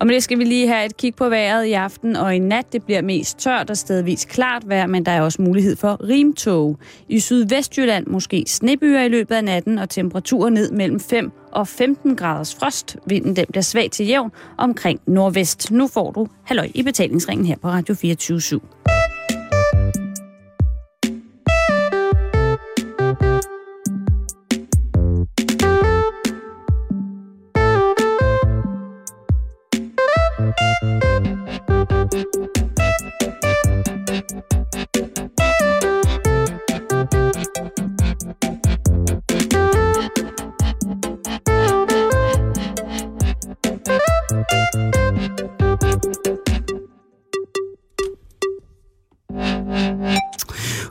Og med det skal vi lige have et kig på vejret i aften og i nat. Det bliver mest tørt og stedvis klart vejr, men der er også mulighed for rimtog. I sydvestjylland måske snebyer i løbet af natten og temperaturer ned mellem 5 og 15 graders frost. Vinden den bliver svag til jævn omkring nordvest. Nu får du halløj i betalingsringen her på Radio 24 /7.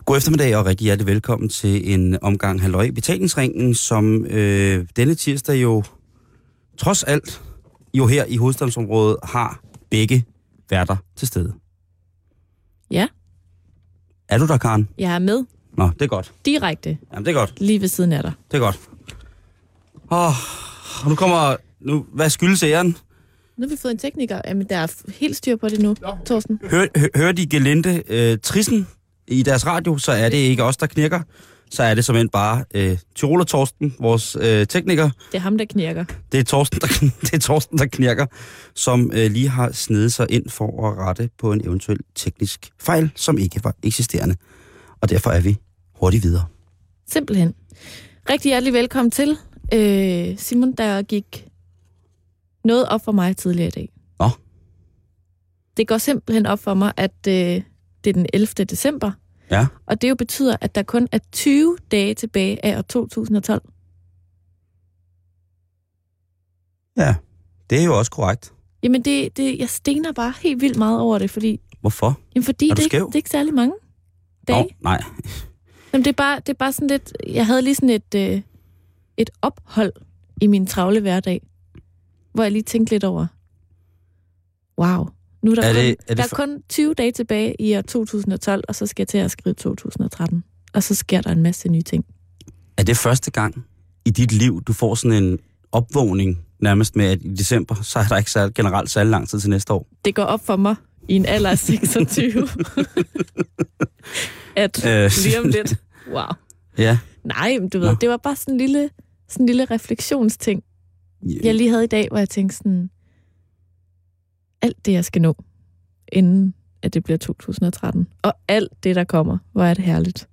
God eftermiddag og rigtig hjertelig velkommen til en omgang Halløj i Betalingsringen, som øh, denne tirsdag jo trods alt jo her i hovedstadsområdet har begge værter til stede. Ja. Er du der, Karen? Jeg er med Nå, det er godt. direkte Jamen, det er godt. lige ved siden af dig. Det er godt. Åh, og nu kommer... Nu, hvad skyldes æren? Nu har vi fået en tekniker. Jamen, der er f- helt styr på det nu, Thorsten. Hør, hø, hører de gelente øh, trissen i deres radio, så er det ikke os, der knirker. Så er det simpelthen bare øh, Tyroler Torsten, vores øh, tekniker, Det er ham, der knirker. Det er Torsten, der, det er Torsten, der knirker, som øh, lige har snedet sig ind for at rette på en eventuel teknisk fejl, som ikke var eksisterende. Og derfor er vi hurtigt videre. Simpelthen. Rigtig hjertelig velkommen til øh, Simon, der gik noget op for mig tidligere i dag. Nå. Det går simpelthen op for mig, at øh, det er den 11. december. Ja. Og det jo betyder, at der kun er 20 dage tilbage af år 2012. Ja, det er jo også korrekt. Jamen, det, det, jeg stener bare helt vildt meget over det, fordi, Hvorfor? jamen fordi Er du det, ikke, skæv? det er ikke særlig mange dage. Nå, nej. Jamen, det, er bare, det er bare sådan lidt... Jeg havde lige sådan et, øh, et ophold i min travle hverdag, hvor jeg lige tænkte lidt over, wow, nu er der, Er det- kun, er det der er for- kun 20 dage tilbage i år 2012, og så skal jeg til at skrive 2013. Og så sker der en masse nye ting. Er det første gang i dit liv, du får sådan en opvågning nærmest med, at i december, så er der ikke særlig, generelt særlig lang tid til næste år? Det går op for mig i en alder af 26, at Øh. lige om lidt, wow. Ja. Nej, men du ved, Nå. det var bare sådan en lille, sådan en lille refleksionsting. jeg lige havde i dag, hvor jeg tænkte sådan, alt det, jeg skal nå, inden at det bliver 2013, og alt det, der kommer, hvor er det herligt.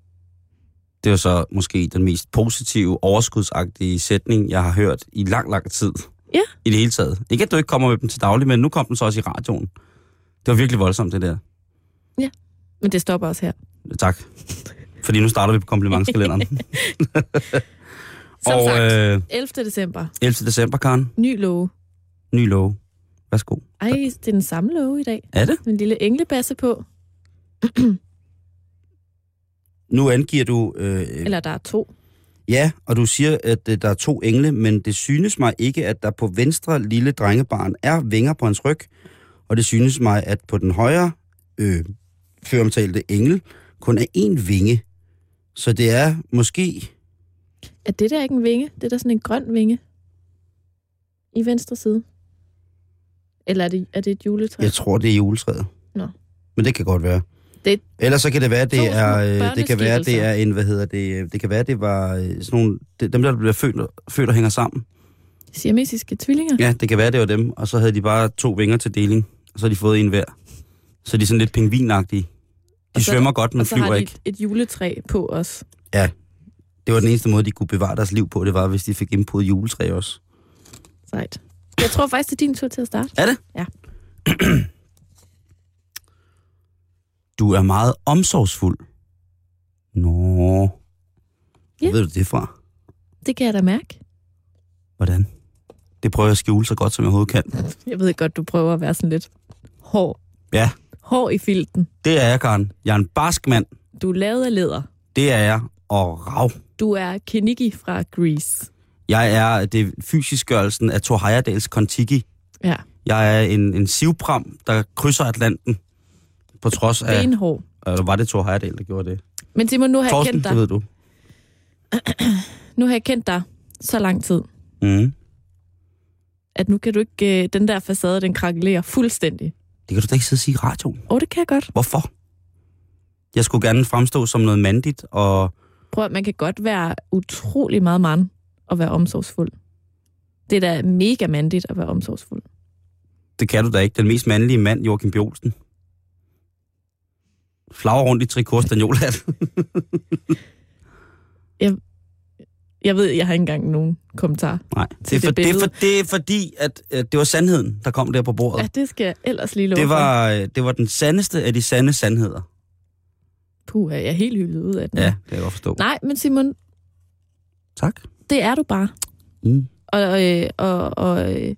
Det er jo så måske den mest positive, overskudsagtige sætning, jeg har hørt i lang, lang tid. Ja. I det hele taget. Ikke at du ikke kommer med dem til daglig, men nu kom den så også i radioen. Det var virkelig voldsomt, det der. Men det stopper også her. Tak. Fordi nu starter vi på komplimentskalenderen. Som og sagt, øh, 11. december, 11. december, Karen. ny love. Ny lov. Værsgo. Ej, det er den samme love i dag. Er det? Med en lille englebasse på, Nu angiver du... Øh, eller der er to. Ja, og du siger, at øh, der er to engle, men det synes mig ikke, at der på venstre lille drengebarn er vinger på hans ryg, og det synes mig, at på den højre øh, føromtalte engel kun er én vinge. Så det er måske... Er det der ikke en vinge? Det er der sådan en grøn vinge i venstre side. Eller er det, er det et juletræ? Jeg tror, det er juletræet. Nå. Men det kan godt være. Det- Ellers så kan det være, at To det små er, øh, det kan være, det børneskikkelser. er en, hvad hedder det, øh, det kan være, det var øh, sådan nogle, det- dem der bliver født, født og hænger sammen. Siamesiske tvillinger? Ja, det kan være, det var dem. Og så havde de bare to vinger til deling, og så har de fået en hver. Så er de sådan lidt pingvinagtige. De Og så- svømmer godt, men og så har flyver de ikke. et, et juletræ på os. Det var den eneste måde, de kunne bevare deres liv på, det var, hvis de fik indpodet juletræ også. Sejt. Jeg tror faktisk, det er din tur til at starte. Er det? Ja. du er meget omsorgsfuld. Nå. Ja. Hvor ved du det fra? Det kan jeg da mærke. Hvordan? Det prøver jeg at skjule så godt, som jeg overhovedet kan. Jeg ved godt, du prøver at være sådan lidt hård. Ja. Hård i filten. Det er jeg, Karen. Jeg er en barsk mand. Du er lavet af læder. Det er jeg. Og rav. Du er Kenigi fra Grease. Jeg er det fysisk gørelsen af Thor Heyerdahls Kontiki. Ja. Jeg er en, en sivpram, der krydser Atlanten. På trods af... Benhård. Eller var det Thor Heyerdahl, der gjorde det? Men Simon, nu har, jeg Torsten, kendt det dig. ved du. nu har jeg kendt dig så lang tid, Mm. at nu kan du ikke, øh, den der facade, den krakelerer fuldstændig. Det kan du da ikke sidde og sige i radioen. Åh, oh, det kan jeg godt. Hvorfor? Jeg skulle gerne fremstå som noget mandigt, og Prøv at man kan godt være utrolig meget mand og være omsorgsfuld. Det er da mega mandigt at være omsorgsfuld. det kan du da ikke. Den mest mandlige mand, Joachim B. Olsen. Flager rundt i trikot stanjolhat. Jeg ved, jeg har ikke engang nogen kommentar. Nej, det er, det for, det, er billede. for, det er fordi, at, at det var sandheden, der kom der på bordet. Ja, det skal jeg ellers lige love det, for. var, øh, det var den sandeste af de sande sandheder. Puh, jeg er helt hyldet ud af den. Ja, det kan jeg godt forstå. Nej, men Simon, Tak. det er du bare. Mm. Og, øh, og, og øh,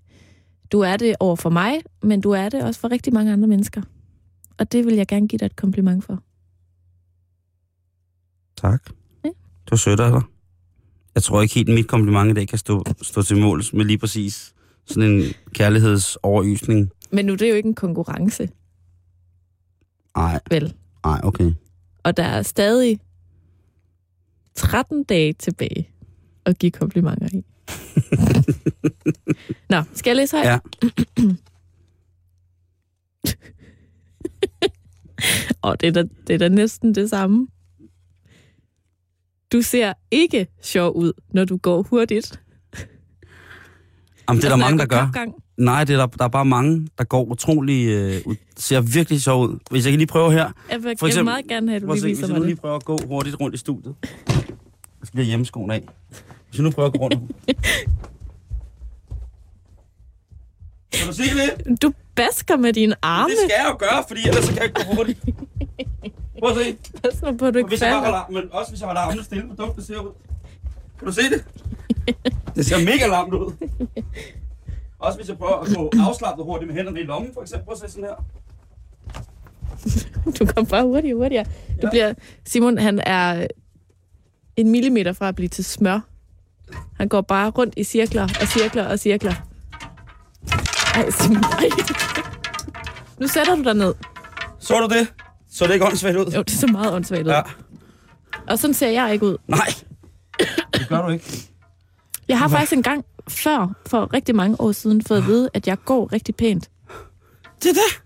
du er det over for mig, men du er det også for rigtig mange andre mennesker. Og det vil jeg gerne give dig et kompliment for. Tak. Ja. Du er sødt af dig. Jeg tror ikke helt, mit kompliment i dag kan stå, stå til mål med lige præcis sådan en kærlighedsoverysning. Men nu det er jo ikke en konkurrence, Nej, vel? nej, okay. Og der er stadig 13 dage tilbage at give komplimenter i. Nå, skal jeg læse højt? Ja. Og det er, da, det er da næsten det samme. Du ser ikke sjov ud, når du går hurtigt. Jamen, det er der Altså, mange, der går gør. kapgang. Nej, det er der, der er bare mange, der går utrolig... Øh, ud- ser virkelig så ud. Hvis jeg kan lige prøve her. For Jeg vil, jeg vil eksempel- meget gerne have, at du Prøv at lige se, hvis viser jeg mig nu lige det. prøver at gå hurtigt rundt i studiet. Jeg skal lige have hjemmeskoen af. Hvis jeg nu prøver at gå rundt... kan du se det? Du basker med dine arme. Det skal jeg jo gøre, fordi ellers så kan jeg ikke gå hurtigt. Prøv at se. Pas nu på, at Og du ikke Hvis jeg bare falder. holder, men også hvis jeg holder armene stille, hvor dumt det ser ud. Kan du se det? Det ser mega lamt ud. Også hvis jeg prøver at gå afslappet hurtigt med hænderne i lommen, for eksempel. Prøv at se sådan her. Du kommer bare hurtigere og hurtigere. Du Ja. bliver, Simon, han er en millimeter fra at blive til smør. Han går bare rundt i cirkler og cirkler og cirkler. Ej, Simon, ej. Nu sætter du dig ned. Så du det? Så det ikke åndssvagt ud? Jo, det er så meget åndssvagt ud. Ja. Og sådan ser jeg ikke ud. Nej. Det gør du ikke. Jeg har faktisk engang før, for rigtig mange år siden, fået at vide, at jeg går rigtig pænt. Det er det.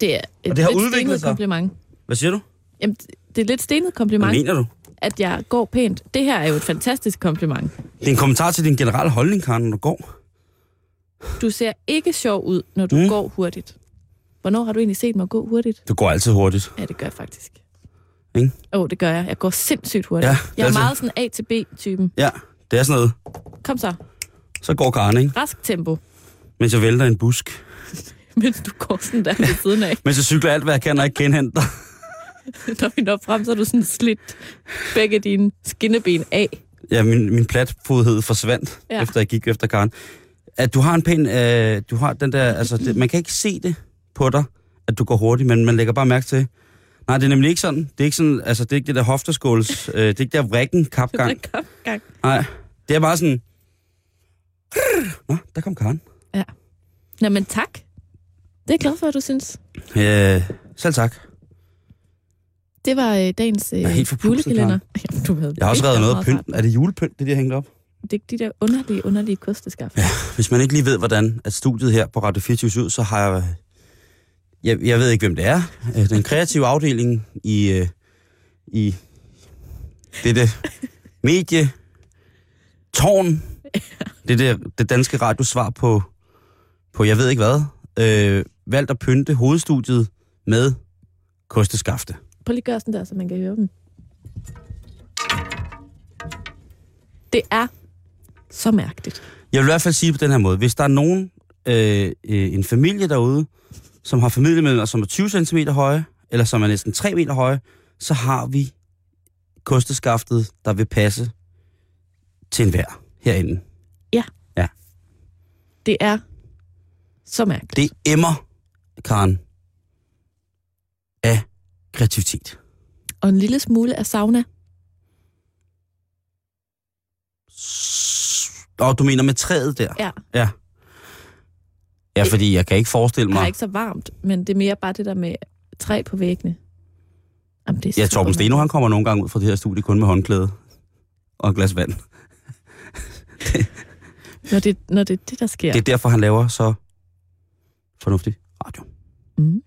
Det er et Og det har lidt udviklet stenet sig. kompliment. Hvad siger du? Jamen, det er et lidt stenet kompliment. Hvad mener du? at jeg går pænt. Det her er jo et fantastisk kompliment. Det er en kommentar til din generelle holdning, Karen, når du går. Du ser ikke sjov ud, når du Mm. mm. går hurtigt. Hvornår har du egentlig set mig gå hurtigt? Du går altid hurtigt. Ja, det gør jeg faktisk. Ikke? Åh, oh, det gør jeg. Jeg går sindssygt hurtigt. Ja, Ja, det er jeg er altså- meget sådan A til B-typen. Ja, det er sådan noget. Kom så, Så går Karen, ikke? rask tempo, Mens jeg vælter en busk. mens du går sådan der ved siden af. Mens jeg cykler alt, hvad jeg kan, og ikke genhenter. Når vi når frem, så er du sådan slidt begge dine skinneben af. Ja, min, min platfodhed forsvandt, ja. Ja. efter jeg gik efter Karen. At du har en pæn... Øh, du har den der... Altså, det, man kan ikke se det på dig, at du går hurtigt, men man lægger bare mærke til... Nej, det er nemlig ikke sådan. Det er ikke sådan, altså, det er ikke det der hofteskåls... Øh, det er ikke der vrikken kapgang. Kom, gang. Nej, det er bare sådan... Nå, der kom Karen. Nå, men tak. Det er jeg glad for, at du synes. Øh, selv tak. Det var øh, dagens øh, er helt forpustet, julekalender. Jamen, du havde Jeg har også virkelig reddet noget af meget pynt. Er det julepynt, det de har hængt op? Det er ikke de der underlige, underlige kosteskaffer. Hvis man ikke lige ved, hvordan at studiet her på Radio 24 så har jeg... Jeg, jeg ved ikke, hvem det er. Øh, Den kreative afdeling i, øh, i dette medie tårn. Det, der, det danske radiosvar på, på jeg ved ikke hvad. Øh, valgt at pynte hovedstudiet med kosteskafte. Prøv lige at gøre sådan der, så man kan høre dem. Det er så mærkeligt. Jeg vil i hvert fald sige på den her måde. Hvis der er nogen, øh, øh, en familie derude, som har familiemedlemmer, som er 20 cm høje, eller som er næsten 3 meter høje, så har vi kosteskaftet, der vil passe til enhver herinde. Det er så mærkeligt. Det emmer, Karen, af kreativitet. Og en lille smule af sauna. S- Og du mener med træet der? Ja. Ja, ja fordi jeg kan ikke forestille Det er mig... ikke så varmt, men det er mere bare det der med træ på væggene. Jamen, det er Ja, super Torben Steno, han mærkeligt. kommer nogle gange ud fra det her studie kun med håndklæde og et glas vand. Når det, når det er det, der sker. Det er derfor, han laver så fornuftig radio. Mm.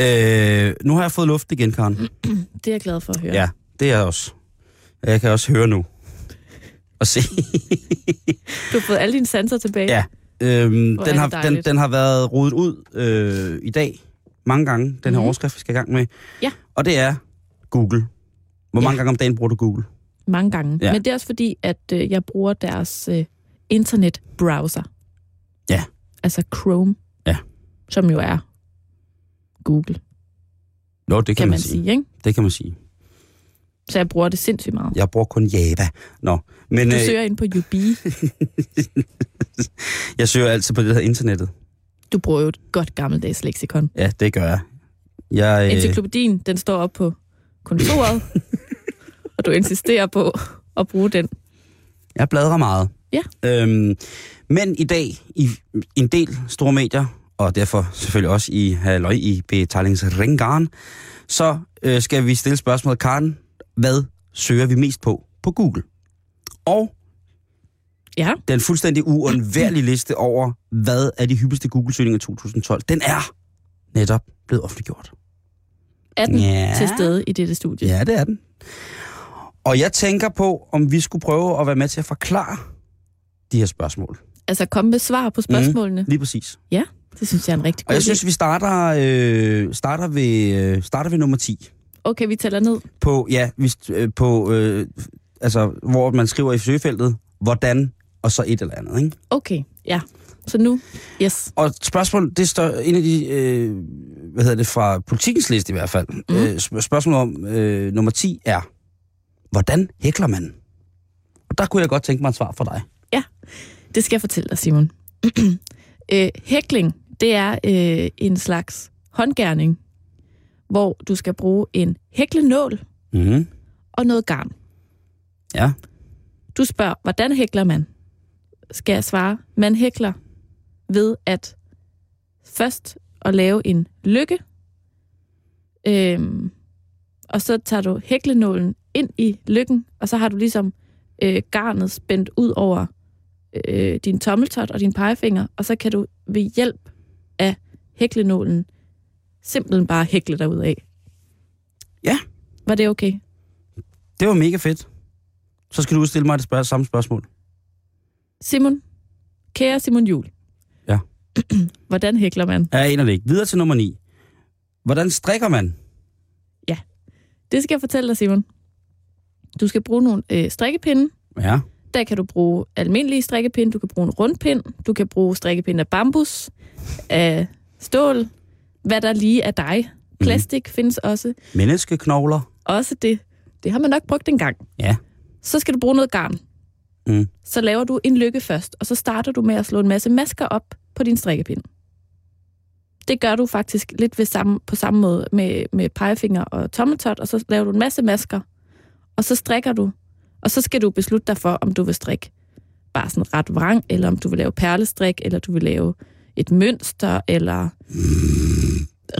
Øh, nu har jeg fået luft igen, Karen. Det er jeg glad for at høre. Ja. Det er jeg også. Jeg kan også høre nu. Og se. Du har fået alle dine sanser tilbage. Ja. Øhm, Hvor den, er det har, den, dejligt. den har været rodet ud øh, i dag mange gange, den her Mhm. overskrift, vi skal i gang med. Ja. Og det er Google. Hvor Ja. mange gange om dagen bruger du Google? Mange gange. Ja. Ja. Men det er også fordi, at øh, jeg bruger deres øh, internetbrowser. Ja. Altså Chrome. Ja. Som jo er Google, kan, Nå, det kan, kan man sige. sige ikke? Det kan man sige. Så jeg bruger det sindssygt meget. Jeg bruger kun Java. Nå, men Du øh, søger ind på UB. jeg søger altid på det her internettet. Du bruger jo et godt gammeldags leksikon. Ja, det gør jeg. Jeg, øh, Encyklopædien, den står op på kontoret, og du insisterer på at bruge den. Jeg bladrer meget. Ja. Øhm, men i dag, i en del store medier, og derfor selvfølgelig også i Halløj i Betalingsringaren, så øh, skal vi stille spørgsmålet, Karen, hvad søger vi mest på på Google? Og Ja, den fuldstændig uundværlige liste over, hvad er de hyppigste Google-søgninger i 2012, den er netop blevet offentliggjort. er den Ja. til stede i dette studie? Ja, det er den. Og jeg tænker på, om vi skulle prøve at være med til at forklare de her spørgsmål. Altså, kom med svar på spørgsmålene. Mm. Lige præcis. Det synes jeg er en rigtig Og god jeg synes... synes, vi starter, øh, starter, ved, øh, starter ved nummer 10. Okay, vi tæller ned. På, ja, vi, st- øh, på, øh, altså, hvor man skriver i søgefeltet, hvordan, og så et eller andet. Ikke? Okay, ja. Så nu, yes. Og spørgsmålet, det står en af de, øh, hvad hedder det, fra politikens liste i hvert fald. Mm. Mhm. Øh, sp- spørgsmålet om øh, nummer 10 er, hvordan hækler man? Og der kunne jeg godt tænke mig et svar fra dig. Det skal jeg fortælle dig, Simon. øh, hækling, det er øh, en slags håndgerning, hvor du skal bruge en hæklenål Mm-hmm. og noget garn. Ja. Du spørger, hvordan hækler man? Skal jeg svare, man hækler ved at først at lave en lykke, øhm, og så tager du hæklenålen ind i lykken, og så har du ligesom øh, garnet spændt ud over øh, din tommeltot og din pegefinger, og så kan du ved hjælp af hæklenålen simpelthen bare hækle dig ud af. Ja. Var det okay? Det var mega fedt. Så skal du stille mig det spørg- samme spørgsmål. Simon, kære Simon Jul. Ja. Hvordan hækler man? Ja, en af det ikke. Videre til nummer 9. Hvordan strikker man? Det skal jeg fortælle dig, Simon. Du skal bruge nogle øh, strikkepinde. Ja. Der kan du bruge almindelige strikkepinde, du kan bruge en rundpind, du kan bruge strikkepinde af bambus, af stål, hvad der lige er dig. Plastik mm. findes også. Menneskeknogler. Også det. Det har man nok brugt en gang. Ja. Så skal du bruge noget garn. Mm. Så laver du en lykke først, og så starter du med at slå en masse masker op på din strikkepind. Det gør du faktisk lidt ved samme, på samme måde med, med pegefinger og tommeltot, og så laver du en masse masker, og så strikker du. Og så skal du beslutte dig for, om du vil strikke bare sådan ret vrang, eller om du vil lave perlestrik, eller du vil lave et mønster, eller Mm.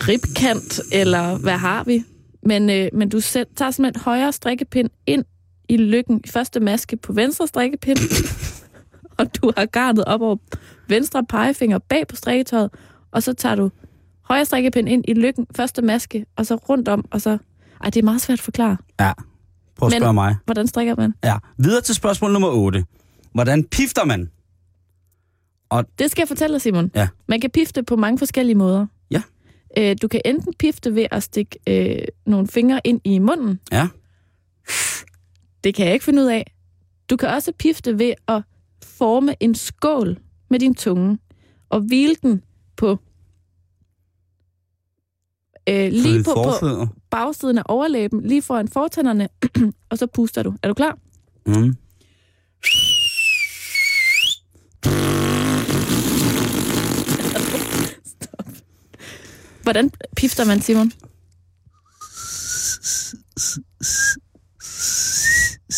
ribkant, eller hvad har vi? Men, øh, men du sæt, tager simpelthen højre strikkepind ind i lykken. Første maske på venstre strikkepind. og du har garnet op over venstre pegefinger bag på strikketøjet. Og så tager du højre strikkepind ind i lykken. Første maske, og så rundt om, og så... Ej, det er meget svært at forklare. Ja. Prøv at Men- spørge mig. Hvordan strikker man? Ja. Videre til spørgsmål nummer 8. Hvordan pifter man? Det skal jeg fortælle dig, Simon. Ja. Man kan pifte på mange forskellige måder. Ja. Øh, du kan enten pifte ved at stikke øh, nogle fingre ind i munden. Ja. Det kan jeg ikke finde ud af. Du kan også pifte ved at forme en skål med din tunge og hvile den på øh, lige på, på Forfødder. bagsiden af overlæben, lige foran fortænderne, og så puster du. Er du klar? Mm. Hvordan pifter man, Simon?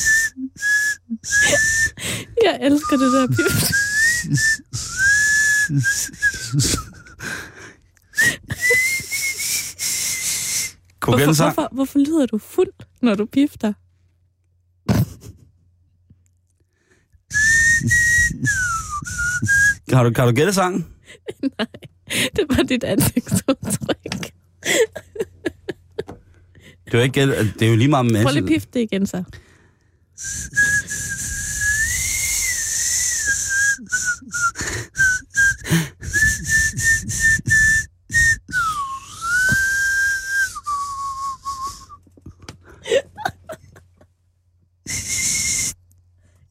Jeg elsker det der pift. Kunne gælde Hvorfor, sig? hvorfor, hvorfor lyder du fuld, når du pifter? Har du, kan du gætte sangen? Det var dit ansigtsudtryk. Det er jo, ikke gætte, det er jo lige meget med Prøv lige at pifte det igen så.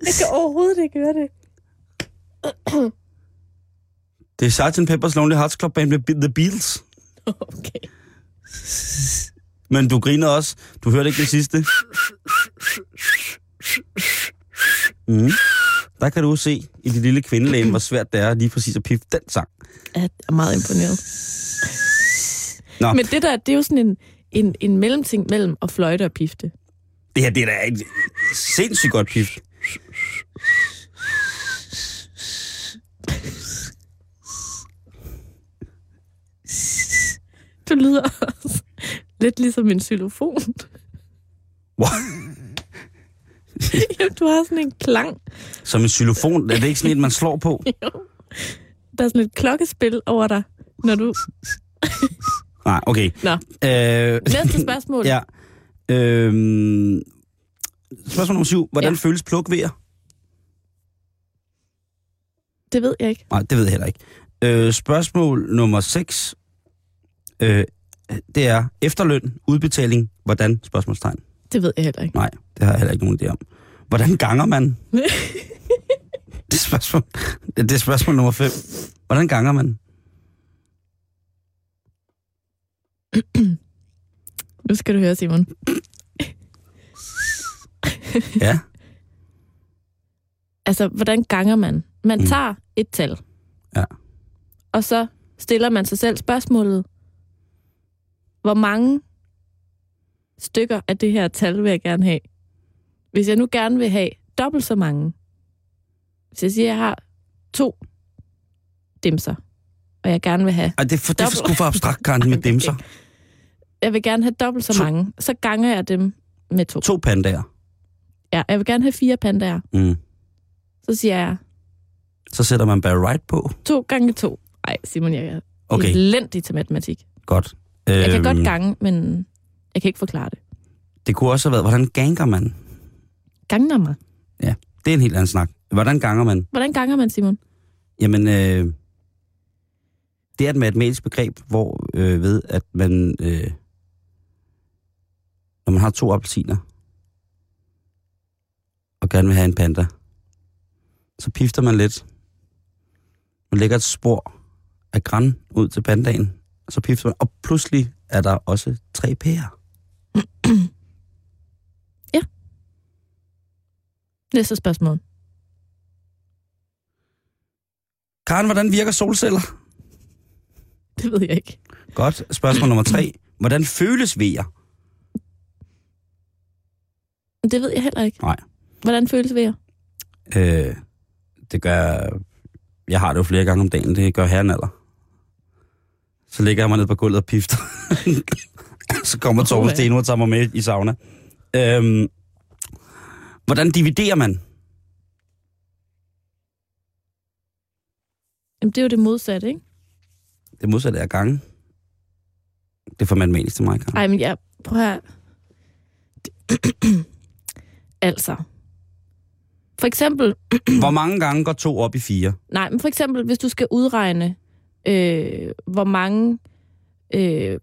Jeg kan overhovedet ikke høre det. Det er Sgt. Pepper's Lonely Hearts Club Band med Be- The Beatles. Okay. Men du griner også. Du hørte ikke det sidste. Mm. Der kan du se i det lille kvindelægen, hvor svært det er lige præcis at pifte den sang. Jeg er meget imponeret. Nå. Men det der, det er jo sådan en, en, en mellemting mellem at fløjte og pifte. Det her, det er da et sindssygt godt pift. Du lyder også lidt ligesom en xylofon. What? Jamen, du har sådan en klang. Som en xylofon. Er det ikke sådan en, man slår på? Der er sådan et klokkespil over dig, når du... Nej, okay. Nå. Øh, Næste spørgsmål. ja. Øhm, spørgsmål nummer syv. Hvordan ja. Ja. føles plukvejer? Det ved jeg ikke. Nej, det ved jeg heller ikke. Øh, spørgsmål nummer 6. Øh, det er efterløn, udbetaling, hvordan? Spørgsmålstegn. Det ved jeg heller ikke. Nej, det har jeg heller ikke nogen idé om. Hvordan ganger man? det, er spørgsmål, det er spørgsmål nummer 5. Hvordan ganger man? Nu skal du høre, Simon. Ja, Altså, hvordan ganger man? Man Mm. mm. tager et tal. Ja. Og så stiller man sig selv spørgsmålet, hvor mange stykker af det her tal vil jeg gerne have? Hvis jeg nu gerne vil have dobbelt så mange, hvis jeg siger, at jeg har to dimser, og jeg gerne vil have, Ej, det er for, det er for, Dobbelt. sgu for abstrakt, Karen, med dimser. jeg vil gerne have dobbelt så To. mange, så ganger jeg dem med to. To pandaer. Ja, jeg vil gerne have fire pandaer, Mm. så siger jeg Så sætter man bare right på. to gange to. Nej, Simon, jeg er Okay, okay. elendig til matematik. godt. Jeg kan Øhm, godt gange, men jeg kan ikke forklare det. Det kunne også have været, hvordan ganger man? Ganger mig. Det er en helt anden snak. Hvordan ganger man? Hvordan ganger man, Simon? Jamen, øh, det er et matematisk begreb, hvor øh, ved, at man, øh, når man har to appelsiner, og gerne vil have en panda, så pifter man lidt. Man lægger et spor af græn ud til pandaen, og så pifter man, og pludselig er der også tre pærer. Næste spørgsmål. Karen, hvordan virker solceller? Det ved jeg ikke. Godt. Spørgsmål nummer tre. Hvordan føles vejer? Det ved jeg heller ikke. Nej. Hvordan føles det ved jer? Øh, det gør... Jeg har det jo flere gange om dagen, det gør herren alder. Så ligger jeg mig ned på gulvet og pifter. så kommer Åh, Torben ja. Steno og tager mig med i sauna. Øhm, hvordan dividerer man? Jamen, det er jo det modsatte, Mm. ikke? Det modsatte er gange. Det er for matematisk til mig, Karen. Ej, men jeg... Prøv her. altså. For eksempel... Hvor mange gange går to op i fire? Nej, men for eksempel, hvis du skal udregne, øh, hvor mange... Øh,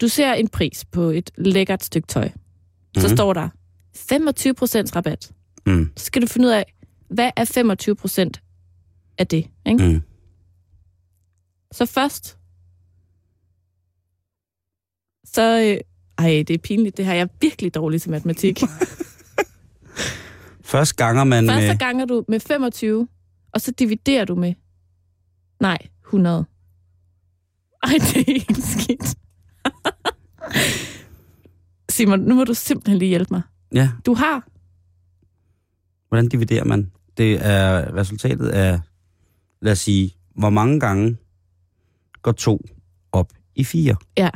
du ser en pris på et lækkert stykke tøj. Mm. Så Mhm. står der 25 rabat. Mm, så skal du finde ud af, hvad er 25 procent af det? Ikke? mm. Så først, så... Øh, ej, det er pinligt det her. Jeg er virkelig dårlig til matematik. Først ganger man Først så med... ganger du med 25, og så dividerer du med... Nej, 100. Ej, det er helt skidt. Simon, nu må du simpelthen lige hjælpe mig. Ja, Du har... hvordan dividerer man? Det er resultatet af, lad os sige, hvor mange gange går to op i fire? Ja,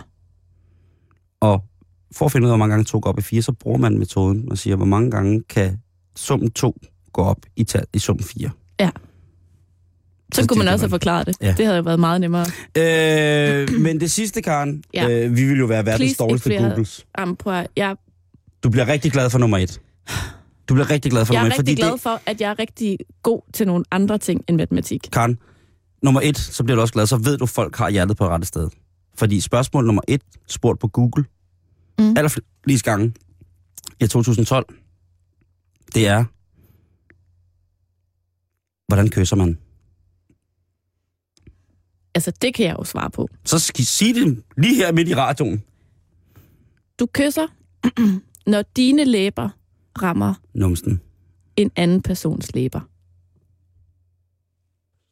Og for at finde ud af, hvor mange gange 2 går op i 4, så bruger man metoden og siger, hvor mange gange kan summen 2 gå op i, tal, i summen 4. Ja. Så kunne man også have forklaret det. Ja. Ja. Det havde jo været meget nemmere. Øh, men det sidste, Karen. Ja. Ja. Øh, vi vil jo være verdens Please, dårligste ikke flere. Googles. Jamen, prøv at, jeg, Du bliver rigtig glad for nummer et. Du bliver rigtig glad for jeg nummer er et. Fordi rigtig glad det, for, at jeg er rigtig god til nogle andre ting end matematik. Karen, nummer et, så bliver du også glad. Så ved du, at folk har hjertet på rette sted. Fordi spørgsmål nummer et, spurgt på Google, Mm. allerflest gange i 2012, det er, hvordan kysser man? Altså, det kan jeg jo svare på. Så skal I sige det lige her midt i radioen. Du kysser, når dine læber rammer Numsten. en anden persons læber.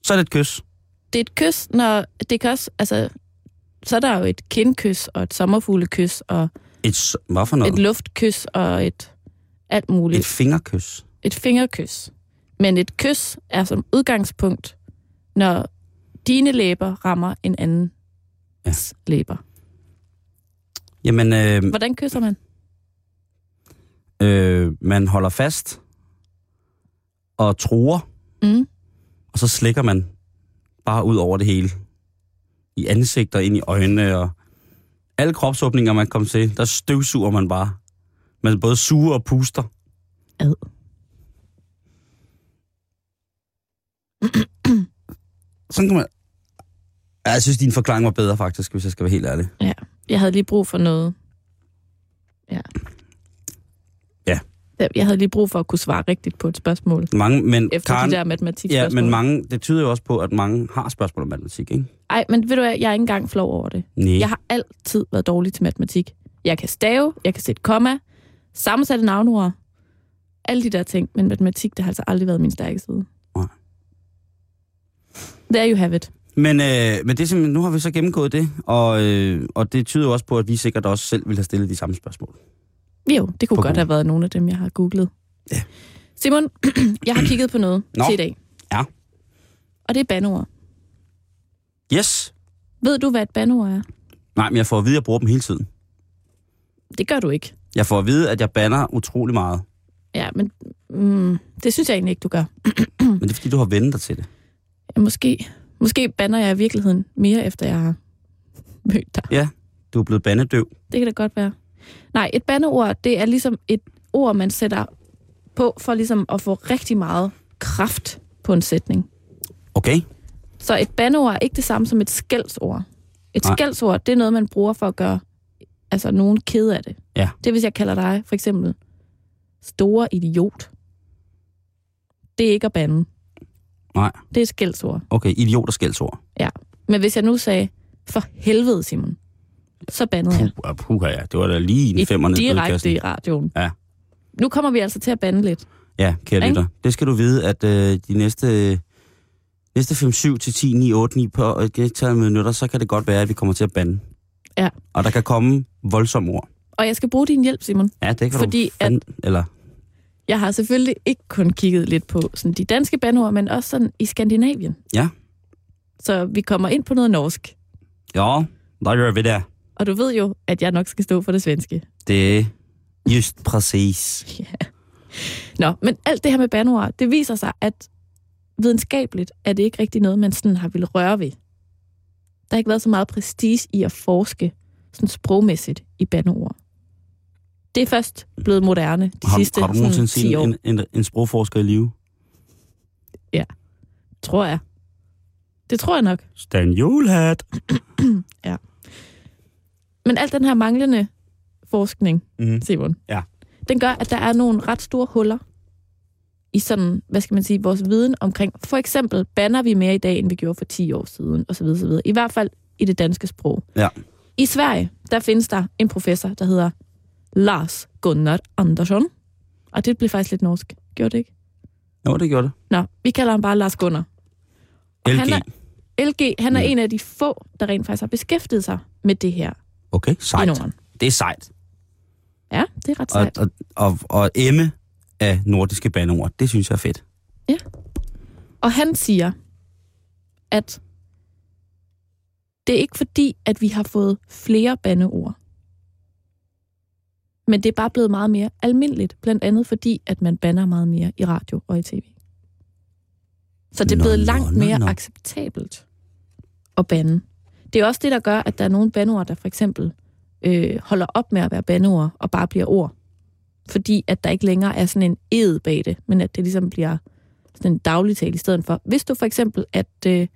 Så er det et kys. det er et kys, når det kan også, altså, så er der jo et kindkys, og et sommerfuglekys, og Et, s- hvad for et noget? luftkys, og et alt Et, et muligt. fingerkys. Et fingerkys. Men et kys er som udgangspunkt, når dine læber rammer en anden Ja. ja. læber. Jamen, øh, Hvordan kysser man? øh, man holder fast og truer, Mm. og så slikker man bare ud over det hele. I ansigter, ind i øjnene og alle kropsåbninger, man kommer til, der støvsuger man bare. Man både suger og puster. Ad. Sådan kan man... Ja, Jeg synes, din forklaring var bedre, faktisk, hvis jeg skal være helt ærlig. Jeg havde lige brug for noget. Ja. Ja. Jeg havde lige brug for at kunne svare rigtigt på et spørgsmål. Mange, men Efter Karen, de der matematik ja, men mange, det tyder jo også på, at mange har spørgsmål om matematik, ikke? Ej, men ved du hvad, jeg er ikke engang flov over det. Nej. Jeg har altid været dårlig til matematik. Jeg kan stave, jeg kan sætte komma, sammensatte navnord, alle de der ting, men matematik, det har altså aldrig været min stærke side. Nej. There you have it. Men, øh, men det er simpelthen, nu har vi så gennemgået det, og, øh, og det tyder jo også på, at vi sikkert også selv vil have stillet de samme spørgsmål. Jo, det kunne På godt Google. have været nogle af dem, jeg har googlet. Ja. Simon, jeg har kigget på noget Nå. til i dag. Ja. Og det er banord. Yes! Ved du, hvad et banord er? Nej, men jeg får at vide, at jeg bruger dem hele tiden. Det gør du ikke. Jeg får at vide, at jeg banner utrolig meget. Ja, men mm, det synes jeg egentlig ikke, du gør. Men det er, fordi du har vendt dig til det. Ja, Måske, måske banner jeg i virkeligheden mere, efter jeg har mødt dig. Du er blevet bandedøv. Det kan det godt være. Nej, et bandeord, det er ligesom et ord, man sætter på for ligesom at få rigtig meget kraft på en sætning. Okay? Så et bandeord er ikke det samme som et skældsord. Et Nej. skældsord, det er noget, man bruger for at gøre altså, nogen ked af det. Ja. Det er, hvis jeg kalder dig for eksempel store idiot. Det er ikke at bande. Nej. Det er et skældsord. Okay, idiot og skældsord. Men hvis jeg nu sagde, for helvede, Simon, så bandede Puh, jeg. puh, ja, det var da lige en Mm. Et femmer ned i direkte bødekassen. i radioen. Ja. Nu kommer vi altså til at bande lidt. Ja, kære Ikke? lytter. Det skal du vide, at øh, de næste, næste 5, 7 til 10, 9, 8, 9 på et gentaget minutter, så kan det godt være, at vi kommer til at bande. Ja. Og der kan komme voldsomme ord. Og jeg skal bruge din hjælp, Simon. Ja, det kan Fordi du fand... Eller, Jeg har selvfølgelig ikke kun kigget lidt på sådan de danske bandord, men også sådan i Skandinavien. Ja. Så vi kommer ind på noget norsk. ja, der gør vi det. Og du ved jo, at jeg nok skal stå for det svenske. Det er just præcis. Nå, men alt det her med bandord, det viser sig, at videnskabeligt er det ikke rigtig noget, man sådan har ville røre ved. Der har ikke været så meget prestige i at forske sådan sprogmæssigt i bandord. Det er først blevet moderne de Har, sidste har du sådan, nogensinde 10 set år, en, en, en sprogforsker i live? tror jeg. Det tror jeg nok. Stan Julhat. Men al den her manglende forskning, Mm. Simon, Ja. den gør, at der er nogle ret store huller i sådan, hvad skal man sige, vores viden omkring, for eksempel, banner vi mere i dag, end vi gjorde for 10 år siden, osv. osv. I hvert fald i det danske sprog. Ja. I Sverige, der findes der en professor, der hedder Lars Gunnar Andersson. Og det blev faktisk lidt norsk. Gjorde det ikke? Jo, det gjorde det. Nå, vi kalder ham bare Lars Gunnar. Og LG. Han er, LG, han er Mm. en af de få, der rent faktisk har beskæftiget sig med det her Okay, i sejt. Norden. Det er sejt. Ja, det er ret Og, sejt. og, og, og emme af nordiske bandeord, det synes jeg er fedt. Og han siger, at det er ikke fordi, at vi har fået flere bandeord. Men det er bare blevet meget mere almindeligt, blandt andet fordi, at man banner meget mere i radio og i tv. Så det er Nå, blevet nå, langt nå, mere nå. acceptabelt at bande. Det er også det, der gør, at der er nogle bandeord, der for eksempel øh, holder op med at være bandeord og bare bliver ord. Fordi at der ikke længere er sådan en ed bag det, men at det ligesom bliver sådan en dagligtale i stedet for. Hvis du for eksempel, at øh,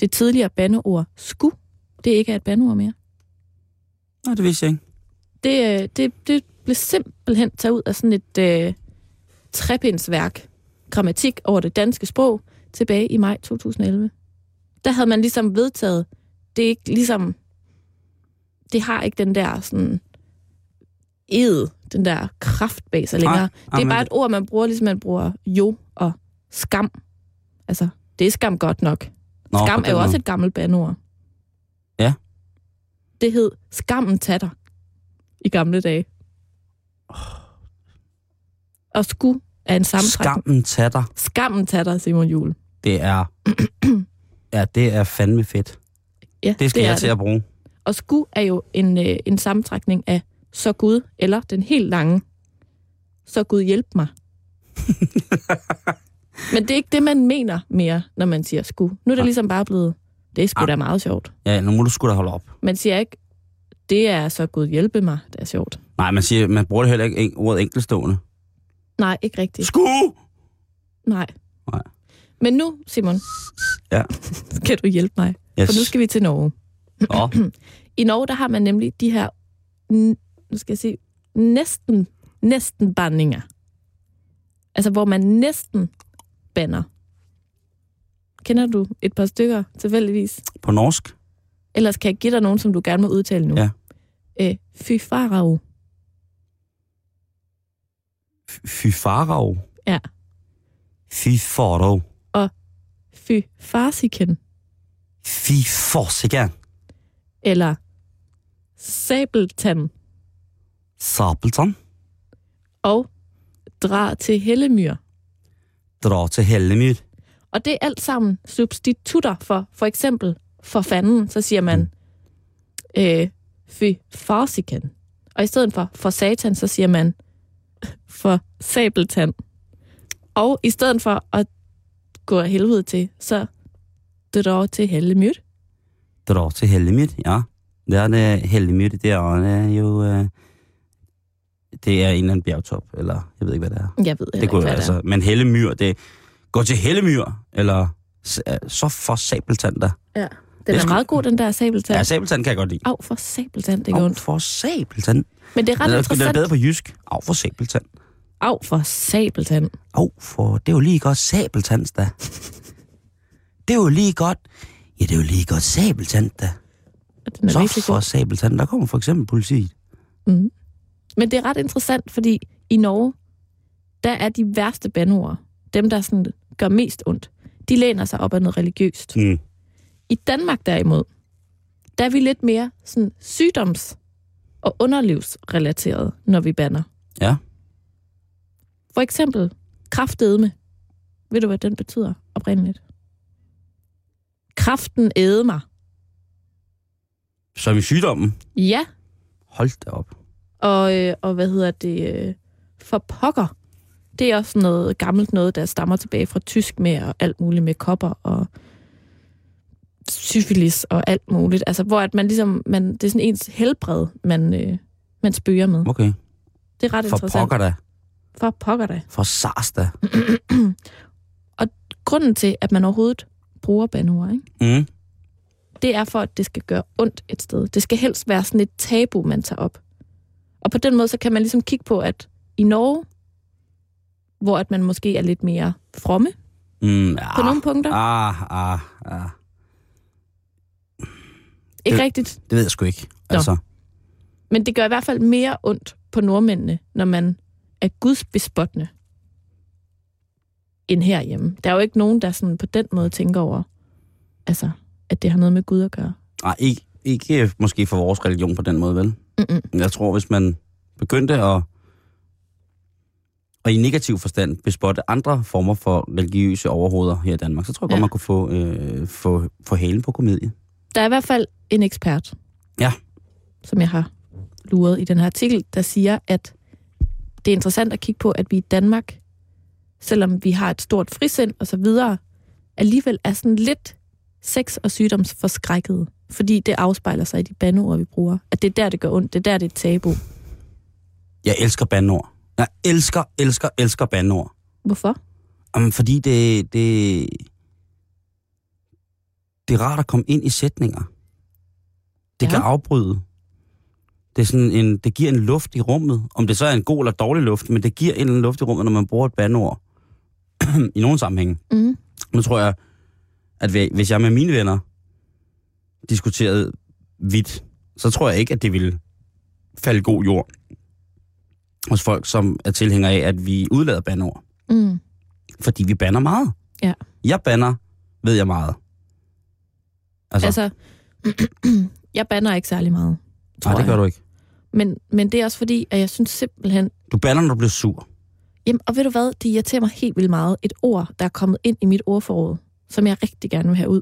det tidligere bandeord sku, det ikke er et bandeord mere. Nå, det vidste jeg ikke. Det, øh, det, det blev simpelthen taget ud af sådan et øh, trepindsværk, grammatik over det danske sprog, tilbage i maj 2011. Der havde man ligesom vedtaget, det er ikke ligesom, det har ikke den der sådan ed, den der kraft bag sig Nej, længere. det men er bare det- et ord, man bruger, ligesom man bruger jo og skam. Altså, det er skam godt nok. Nå, Skam på er jo den også måde. et gammelt bandord. Ja. Det hed skammen tatter i gamle dage. Og sku er en sammentrækning. Skammen tatter. Skammen tatter, Simon Jul. Det er... ja, det er fandme fedt. Ja, Det skal det det er jeg til det. at bruge. Og sku er jo en, øh, en sammentrækning af så Gud, eller den helt lange, så Gud hjælp mig. Men det er ikke det, man mener mere, når man siger sku. Nu er det Nej. ligesom bare blevet, det er sgu Ah. da meget sjovt. Ja, nu må du sgu da holde op. Man siger ikke, det er så Gud hjælpe mig, det er sjovt. Nej, man, siger, man bruger det heller ikke en- ordet enkeltstående. Nej, ikke rigtigt. Sku! Nej. Nej. Men nu, Simon, Ja. skal du hjælpe mig, Yes. for nu skal vi til Norge. Nå, I Norge, der har man nemlig de her, n- nu skal jeg sige, næsten, næsten bandinger. Altså, hvor man næsten banner. Kender du et par stykker, tilfældigvis? på norsk. Ellers kan jeg give dig nogen, som du gerne må udtale nu. Ja. Øh, fy farao. F- Fy farao. Ja. Fy farao. Fy farsiken. Fy forsikan. Eller sabeltand. Sabeltan. Og dra til hellemyr. Dra til Hellemyr. Og det er alt sammen substitutter for, for eksempel, for fanden, så siger man, øh, fy farsikan. Og i stedet for for satan, så siger man, for sabeltand. Og i stedet for at gå af helvede til, så drar til hellemyr. Dra til Hellemyr, ja. Det er det, Hellemyr, det er øh, jo... Øh, det er en eller anden bjergtop, eller jeg ved ikke, hvad det er. Jeg ved heller Det ikke, kunne hvad det er. altså, men Hellemyr, det går til Hellemyr, eller s- øh, så for Sabeltand da. Den er er sgu- meget god, den der Ja, sabeltand. Sabeltand kan jeg godt lide. Au, for sabeltand, det gør ondt. for Sabeltand. Men det er Den er, ret den er interessant. bedre på jysk. Au for Sabeltand. Au, for sabeltand. Åh, for det er jo lige godt sabeltands da. Det er jo lige godt... Ja, det er jo lige godt sabeltand da. Den er Så virkelig god. for sabeltand, der kommer for eksempel politiet. Mm. Men det er ret interessant, fordi i Norge, der er de værste bandeord, dem der sådan gør mest ondt, de læner sig op ad noget religiøst. Mm. I Danmark derimod, der er vi lidt mere sådan sygdoms- og underlivsrelateret, når vi banner. Ja. For eksempel kraftedme. Ved du, hvad den betyder oprindeligt? Kraften æde mig. Som i sygdommen. Ja, Hold da op. Og, øh, og hvad hedder det? Øh, for pokker. Det er også noget gammelt noget, der stammer tilbage fra tysk med og alt muligt med kopper og syfilis og alt muligt. Altså, hvor at man ligesom, man, det er sådan ens helbred, man, øh, man spøger med. Okay. Det er ret For interessant. pokker da. For pokker da. For sars da. Grunden til, at man overhovedet bruger bandeord, ikke? Mm. det er for, at det skal gøre ondt et sted. Det skal helst være sådan et tabu, man tager op. Og på den måde, så kan man ligesom kigge på, at i Norge, hvor at man måske er lidt mere fromme Mm. på Ah, nogle punkter, ah, ah, ah. ikke rigtigt, Det ved jeg sgu ikke. Altså, men det gør i hvert fald mere ondt på nordmændene, når man er gudsbespottende end herhjemme. Der er jo ikke nogen, der sådan på den måde tænker over, altså, at det har noget med Gud at gøre. nej, Ah, ikke, ikke øh, måske for vores religion på den måde, vel? Mm-mm. Men Jeg tror, hvis man begyndte at, og i negativ forstand bespotte andre former for religiøse overhoveder her i Danmark, så tror jeg godt, Ja. man kunne få, øh, få, få halen på komedie. Der er i hvert fald en ekspert, Ja. som jeg har luret i den her artikel, der siger, at det er interessant at kigge på, at vi i Danmark, selvom vi har et stort frisind og så videre, alligevel er sådan lidt sex- og sygdomsforskrækket, fordi det afspejler sig i de bandeord, vi bruger. At det er der, det gør ondt. Det er der, det er et tabu. Jeg elsker bandord. Jeg elsker, elsker, elsker bandord. Hvorfor? Jamen, fordi det, det, det er rart at komme ind i sætninger. Det Ja. ja. kan afbryde. Det, er sådan en, det giver en luft i rummet. Om det så er en god eller dårlig luft, men det giver en eller anden luft i rummet, når man bruger et bandord. I nogle sammenhænge. Mm. Nu tror jeg, at hvi- hvis jeg med mine venner diskuterede vidt, så tror jeg ikke, at det ville falde i god jord hos folk, som er tilhængere af, at vi udlader bandord. Mm. Fordi vi banner meget. Ja. Jeg banner, ved jeg meget. Altså, altså Altså, jeg banner ikke særlig meget. tror nej, det gør jeg. du ikke. Men, men det er også fordi, at jeg synes simpelthen... Du banner, når du bliver sur. Jamen, og ved du hvad? Det irriterer mig helt vildt meget. Et ord, der er kommet ind i mit ordforråd, som jeg rigtig gerne vil have ud.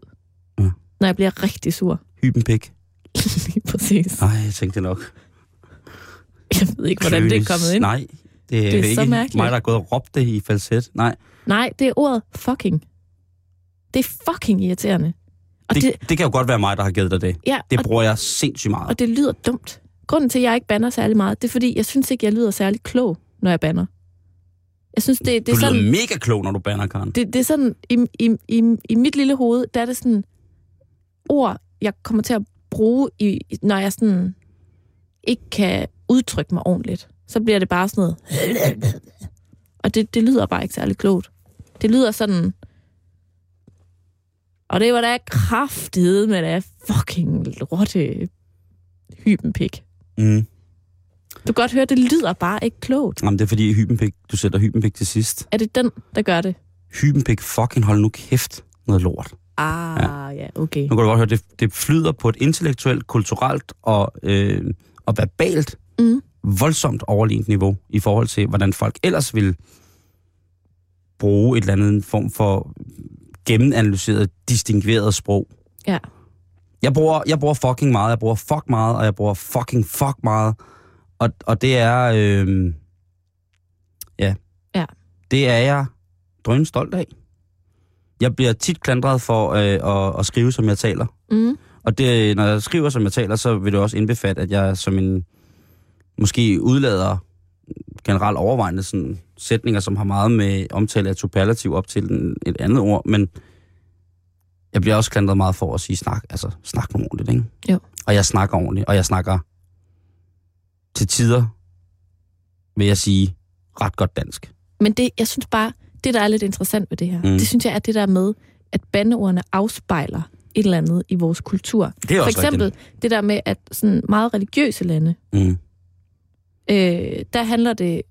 Ja. Når jeg bliver rigtig sur. Hybenpik. Lige præcis. Nej, jeg tænkte det nok. Jeg ved ikke, hvordan det er Kløes. kommet ind. Nej, det er, Det er så ikke mærkeligt. mig, der er gået og råbt det i falset. Nej, Nej, det er ordet fucking. Det er fucking irriterende. Og det, det, det, det kan jo godt være mig, der har givet dig det. ja, Det og, bruger jeg sindssygt meget. og det lyder dumt. Grunden til, at jeg ikke banner særlig meget, det er fordi, jeg synes ikke, jeg lyder særlig klog, når jeg banner. Jeg synes, det, det Du er lyder sådan... mega klog, når du banner, Karen. det, det er sådan, i, i, i, i mit lille hoved, der er det sådan ord, jeg kommer til at bruge, i, når jeg sådan ikke kan udtrykke mig ordentligt. Så bliver det bare sådan noget. Og det, det lyder bare ikke særlig klogt. Det lyder sådan... Og det var da kraftedet med det fucking rotte hybenpik. Mm. Du kan godt høre, det lyder bare ikke klogt. Jamen, det er fordi hybenpik, du sætter hybenpik til sidst. Er det den, der gør det? Hybenpik, fucking hold nu kæft noget lort. Ah, ja, okay. Nu kan du godt høre, det, det flyder på et intellektuelt, kulturelt og, øh, og verbalt Mm. voldsomt overlignet niveau i forhold til, hvordan folk ellers ville bruge et eller andet form for gennemanalyseret, distingueret sprog. Ja. Jeg bruger, jeg bruger fucking meget, jeg bruger fuck meget, og jeg bruger fucking fuck meget. Og, og det er... Øh, ja. Ja. Det er jeg drøn stolt af. Jeg bliver tit klandret for øh, at, at skrive, som jeg taler. Mm. Og det, når jeg skriver, som jeg taler, så vil det også indbefatte, at jeg som en måske udlader generelt overvejende sådan, sætninger, som har meget med omtale af superlativ op til en, et andet ord, men jeg bliver også klandret meget for at sige snak, altså snak nu ordentligt, ikke? Jo. Og jeg snakker ordentligt, og jeg snakker til tider, vil jeg sige, ret godt dansk. Men det, jeg synes bare, det der er lidt interessant ved det her, mm. Mm. det synes jeg er det der med, at bandeordene afspejler et eller andet i vores kultur. Det er For eksempel det der med, at sådan meget religiøse lande, rigtigt. Mm. øh, der handler det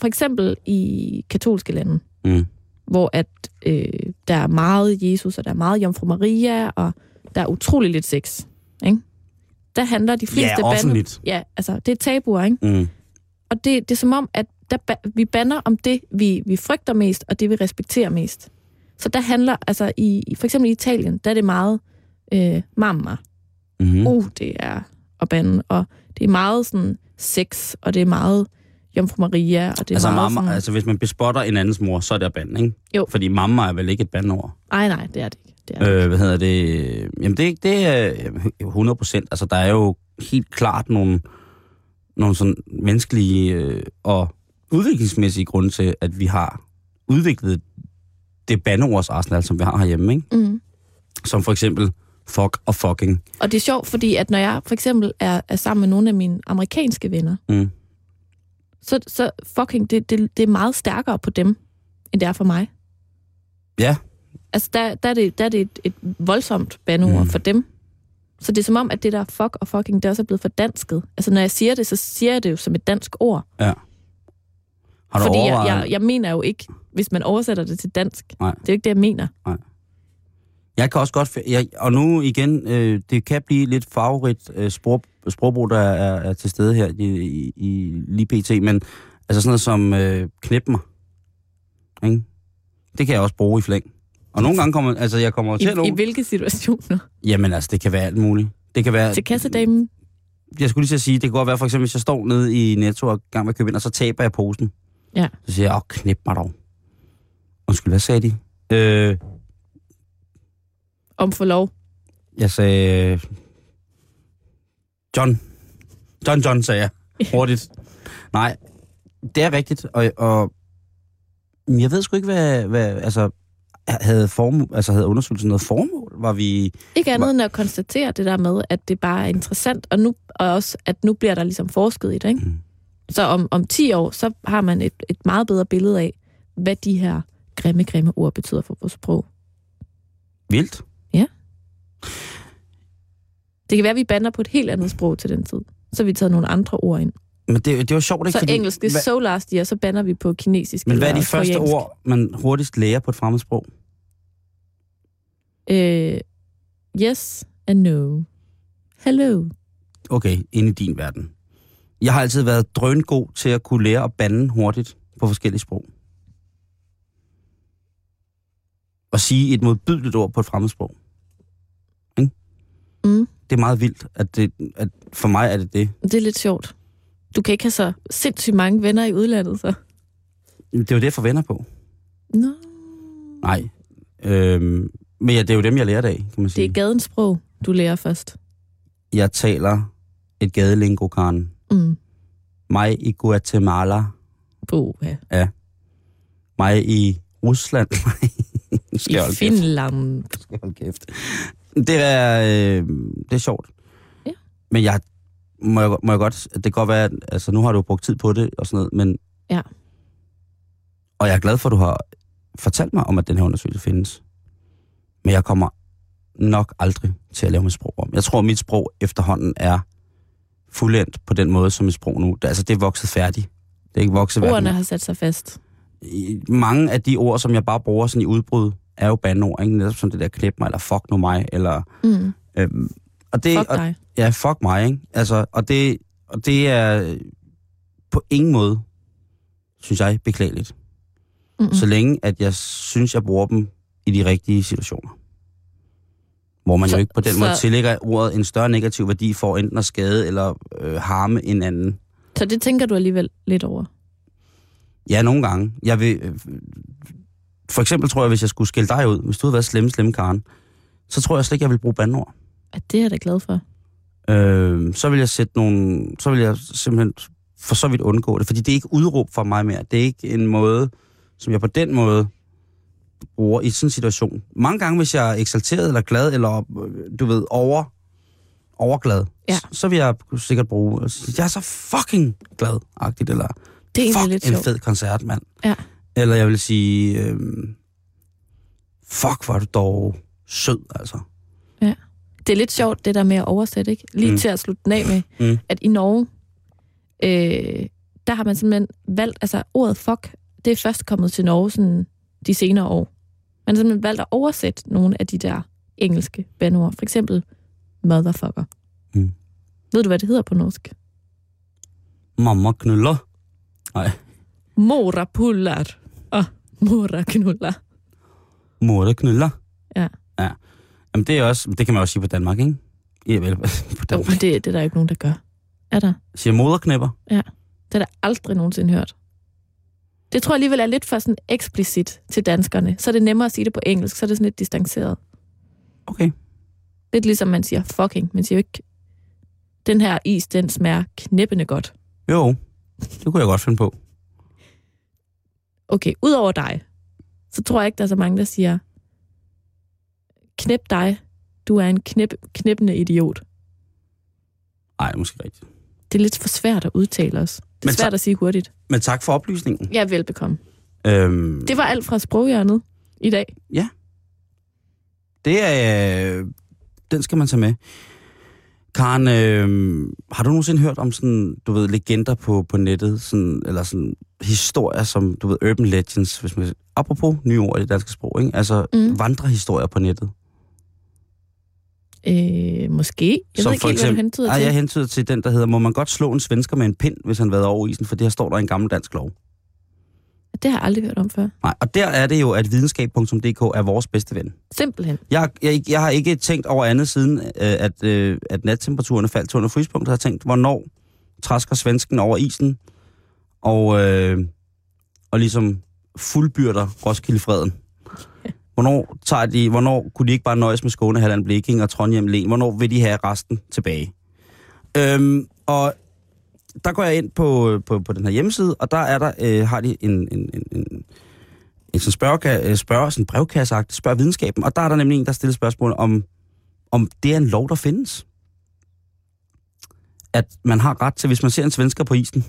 for eksempel i katolske lande, Mm. hvor at øh, der er meget Jesus, og der er meget Jomfru Maria, og der er utrolig lidt sex. Ikke? Der handler de fleste Ja, offentligt. Ja, altså, det er tabuer, ikke? Mm. Og det, det er som om, at der, ba- vi banner om det, vi, vi frygter mest, og det, vi respekterer mest. Så der handler, altså i, i- for eksempel i Italien, der er det meget øh, mamma. Mm. Mm. Uh, det er at bande, og det er meget sådan sex, og det er meget Jomfru Maria, og det er altså, meget mamma, sådan, altså, hvis man bespotter en andens mor, så er det at bande, ikke? Jo. Fordi mamma er vel ikke et bandord? Ej, nej, det er det ikke. Det er det. Øh, hvad hedder det? Jamen, det er ikke det er øh, 100 procent. Altså, der er jo helt klart nogle, nogle sådan menneskelige øh, og udviklingsmæssige grunde til, at vi har udviklet det bandeordsarsenal, som vi har herhjemme, ikke? ikke. Mm. Som for eksempel fuck og fucking. Og det er sjovt, fordi at når jeg for eksempel er, er sammen med nogle af mine amerikanske venner, Mm. så, så fucking, det, det, det er meget stærkere på dem, end det er for mig. Ja. Altså, der, der, er, det, der er det et, et voldsomt bandeord Mm. mm. for dem. Så det er som om, at det der fuck og fucking, det også er blevet for dansket. Altså, når jeg siger det, så siger jeg det jo som et dansk ord. Har du fordi jeg, overvejet... jeg, jeg mener jo ikke, hvis man oversætter det til dansk. Nej. Det er jo ikke det, jeg mener. Jeg kan også godt... f- Jeg, og nu igen, øh, det kan blive lidt favorit øh, sprog, sprogbrug, der er, er til stede her i, i, i lige pt. Men altså sådan noget som øh, knip mig. Ikke? Det kan jeg også bruge i flæng. Og nogle gange kommer... Altså, jeg kommer til at... I, I nogle- hvilke situationer? Jamen altså, det kan være alt muligt. Det kan være... Til kassedamen? Jeg skulle lige til at sige, det kan godt være, for eksempel, hvis jeg står nede i Netto og er i gang med at købe ind, og så taber jeg posen. Ja. Så siger jeg, åh, knip mig dog. Undskyld, hvad sagde de? Øh, Om for lov. Jeg sagde... øh, John. John John, sagde jeg. Hurtigt. Nej, det er rigtigt. Og, og men jeg ved sgu ikke, hvad... hvad altså, havde, form, altså, havde undersøgelsen noget formål? Var vi... Ikke andet Hva- end at konstatere det der med, at det bare er interessant, og, nu, og også, at nu bliver der ligesom forsket i det. Ikke? Mm. Så om, om 10 år, så har man et, et meget bedre billede af, hvad de her grimme, grimme ord betyder for vores sprog. Vildt. Det kan være, at vi bander på et helt andet sprog til den tid. Så har vi taget nogle andre ord ind. Men det, det var sjovt, ikke? Så engelsk, det er so last year, så bander vi på kinesisk. Men hvad er eller de første koreansk. ord, man hurtigst lærer på et fremmedsprog? Øh, yes and no. Hello. Okay, inde i din verden. Jeg har altid været drøngod til at kunne lære at bande hurtigt på forskellige sprog. Og sige et modbydeligt ord på et fremmedsprog. Ikke? Mm. Det er meget vildt, at, det, at for mig er det det. Det er lidt sjovt. Du kan ikke have så sindssygt mange venner i udlandet, så. Det er jo det, jeg får venner på. Nå. Nej. Øhm, men ja, det er jo dem, jeg lærer det af, kan man Det sige. er gadens sprog, du lærer først. Jeg taler et gadelingo, Karen. Mm. Mig i Guatemala. Boha. Mig i Rusland. Nu skal I jeg holde kæft. Finland. Hold kæft. Det er, øh, det er sjovt. Ja. Men jeg, må, jeg, må jeg godt, det kan godt være, at altså, nu har du brugt tid på det og sådan noget, men... Ja. Og jeg er glad for, at du har fortalt mig om, at den her undersøgelse findes. Men jeg kommer nok aldrig til at lave mit sprog om. Jeg tror, at mit sprog efterhånden er fuldendt på den måde, som mit sprog nu... Altså, det er vokset færdigt. Det er ikke vokset hverken- Ordene har sat sig fast. i- mange af de ord, som jeg bare bruger sådan i udbrud, er jo bandord, ikke? Netop som det der klip mig, eller fuck nu mig, eller... Mm. Øhm, og det, Fuck og, dig. Ja, fuck mig, ikke? Altså, og det, og det er øh, på ingen måde, synes jeg, beklageligt. Mm-mm. Så længe, at jeg synes, jeg bruger dem i de rigtige situationer. Hvor man Så- jo ikke på den så- måde tillægger ordet en større negativ værdi for enten at skade eller øh, harme en anden. Så det tænker du alligevel lidt over. Ja, nogle gange. Jeg vil, øh, for eksempel tror jeg, hvis jeg skulle skille dig ud, hvis du havde været slemme, slemme Karen, så tror jeg slet ikke, jeg ville bruge bandord. At det er jeg da glad for. Øh, så vil jeg sætte nogle, så vil jeg simpelthen for så vidt undgå det, fordi det er ikke udråb for mig mere. Det er ikke en måde, som jeg på den måde bruger i sådan en situation. Mange gange, hvis jeg er eksalteret eller glad, eller øh, du ved, over, overglad, Ja. så, så vil jeg sikkert bruge, altså, jeg er så fucking glad-agtigt, eller Det er egentlig fuck lidt en sjovt. fed koncert, mand. Ja. Eller jeg vil sige, øh, fuck, var du dog sød, altså. Det er lidt sjovt, det der med at oversætte, ikke? Lige Mm. mm. til at slutte den af med, Mm. mm. at i Norge, øh, der har man simpelthen valgt, altså ordet fuck, det er først kommet til Norge sådan, de senere år. Man har simpelthen valgt at oversætte nogle af de der engelske bandord. For eksempel motherfucker. Mm. Ved du, hvad det hedder på norsk? Mamma knuller. Nej, Morapullar og moraknuller. mor der knuller. Ja. ja. Jamen, det, er også, det kan man også sige på Danmark, ikke? Ja, vel, på Jo, Danmark. men det, det er der ikke nogen, der gør. Er der? Siger moderknæpper. Det har jeg aldrig nogensinde hørt. Det tror jeg alligevel er lidt for sådan eksplicit til danskerne. Så er det nemmere at sige det på engelsk, så er det sådan lidt distanceret. Okay. Lidt ligesom man siger fucking, man siger jo ikke, den her is, den smager knæppende godt. Jo, det kunne jeg godt finde på. Okay, udover dig, så tror jeg ikke, der er så mange, der siger, knæp dig, du er en knæp, knæppende idiot. Nej, måske rigtigt. Det er lidt for svært at udtale os. Det Men er så- svært at sige hurtigt. Men tak for oplysningen. Ja, velbekomme. Øhm, Det var alt fra sproghjørnet i dag. det er... Øh, den skal man tage med. Karen, øh, har du nogensinde hørt om sådan, du ved, legender på, på nettet, sådan, eller sådan historier som, du ved, urban legends, hvis man apropos nye ord i det danske sprog, ikke? altså mm. Mm. vandrehistorier på nettet. Øh, måske. Jeg ved ikke helt, hvad du hentyder ej, til. jeg hentyder til den, der hedder, må man godt slå en svensker med en pind, hvis han har været over isen, for det her står der i en gammel dansk lov. Det har jeg aldrig hørt om før. Nej, og der er det jo, at videnskab.dk er vores bedste ven. Simpelthen. Jeg, jeg, jeg har ikke tænkt over andet siden, øh, at, øh, at nattemperaturen faldt til under frysepunktet. Jeg har tænkt, hvornår træsker svensken over isen og, øh, og ligesom fuldbyrder Roskildefreden. Hvornår, tager de, hvornår kunne de ikke bare nøjes med Skåne, Halland, Bleking og Trondheim Len? Hvornår vil de have resten tilbage? Øhm, og der går jeg ind på, øh, på, på den her hjemmeside, og der er der, øh, har de en, en, en, en, en sådan spørge, spørge sådan brevkasseagt, spørg videnskaben, og der er der nemlig en, der stiller spørgsmål om, om det er en lov, der findes. At man har ret til, hvis man ser en svensker på isen,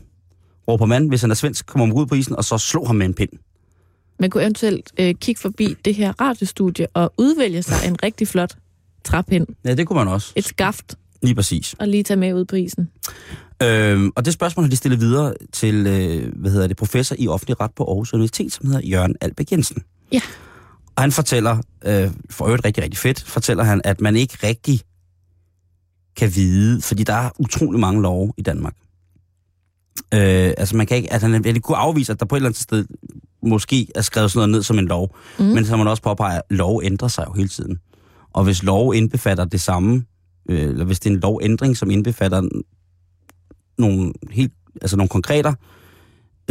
råber man, hvis han er svensk, kommer man ud på isen, og så slår ham med en pind. Man kunne eventuelt øh, kigge forbi det her radiostudie og udvælge sig en rigtig flot træpind. Ja, det kunne man også. Et skaft Lige præcis. og lige tage med ud på isen. Øhm, og det spørgsmål har de stillet videre til, øh, hvad hedder det, professor i offentlig ret på Aarhus Universitet, som hedder Jørgen Albæk Jensen. Ja. Og han fortæller, øh, for øvrigt rigtig, rigtig fedt, fortæller han, at man ikke rigtig kan vide, fordi der er utrolig mange love i Danmark. Øh, altså man kan ikke, at han ville kunne afvise, at der på et eller andet sted måske er skrevet sådan noget ned som en lov. Mm. Men som man også påpeger, lov ændrer sig jo hele tiden. Og hvis lov indbefatter det samme, øh, eller hvis det er en lovændring, som indbefatter n- nogle, helt, altså nogle konkreter,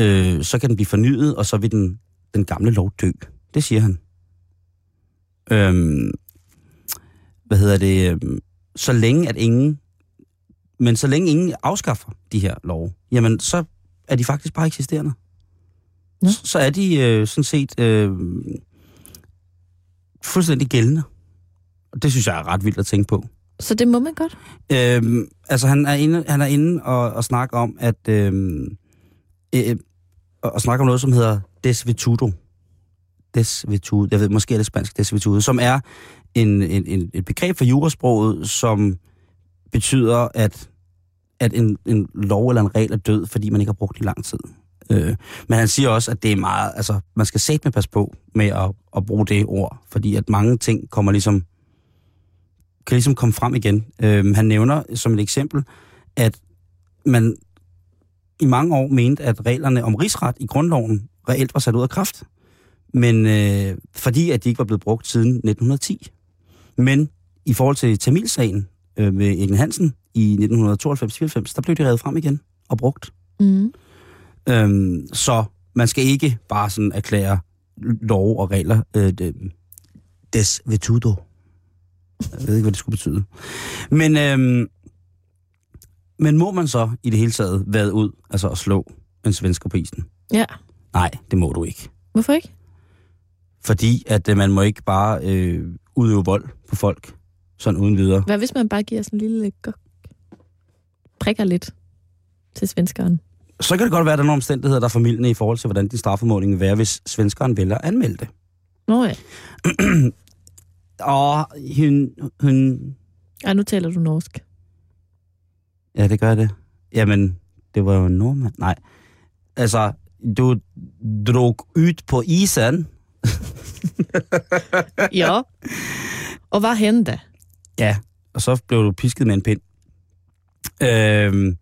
øh, så kan den blive fornyet, og så vil den, den gamle lov dø. Det siger han. Øhm, hvad hedder det? øhm, Så længe at ingen, men så længe ingen afskaffer de her love, jamen så er de faktisk bare eksisterende. Nå. Ja. Så er de øh, sådan set øh, fuldstændig gældende. Og det synes jeg er ret vildt at tænke på. Så det må man godt. Øhm, altså han er inde, han er inde og, og snakker om, at øhm, øh, og, og snakker om noget, som hedder desvitudo. Desvitudo, jeg ved, måske er det spansk desvitudo, som er en, en, en, et begreb for jurasproget, som betyder, at, at en, en lov eller en regel er død, fordi man ikke har brugt den i lang tid. Øh, men han siger også, at det er meget, altså man skal sætte med pas på med at, at bruge det ord, fordi at mange ting kommer ligesom kan ligesom komme frem igen. Øhm, han nævner som et eksempel, at man i mange år mente, at reglerne om rigsret i grundloven reelt var sat ud af kraft, men øh, fordi at de ikke var blevet brugt siden 1910. Men i forhold til Tamilsagen øh, med Egen Hansen i 1992-94, der blev de revet frem igen og brugt. Mm. Øhm, så man skal ikke bare sådan erklære lov og regler øh, det- des vetudo. Jeg ved ikke, hvad det skulle betyde. Men, øhm, men må man så i det hele taget vade ud, altså at slå en svensker på isen? Ja. Nej, det må du ikke. Hvorfor ikke? Fordi at øh, man må ikke bare øh, udøve vold på folk, sådan uden videre. Hvad hvis man bare giver sådan en lille gok? Prikker lidt til svenskeren. Så kan det godt være, at der er nogle omstændigheder, der er formidlende i forhold til, hvordan din strafformåling vil være, hvis svenskeren vælger at anmelde det. Nå ja. Og hun, hun, Ej, nu taler du norsk. Ja, det gør det. Jamen, det var jo en nordmand. Nej. Altså, du drog ud på isen. Ja. Og hvad hände? Ja. Og så blev du pisket med en pind. Øhm.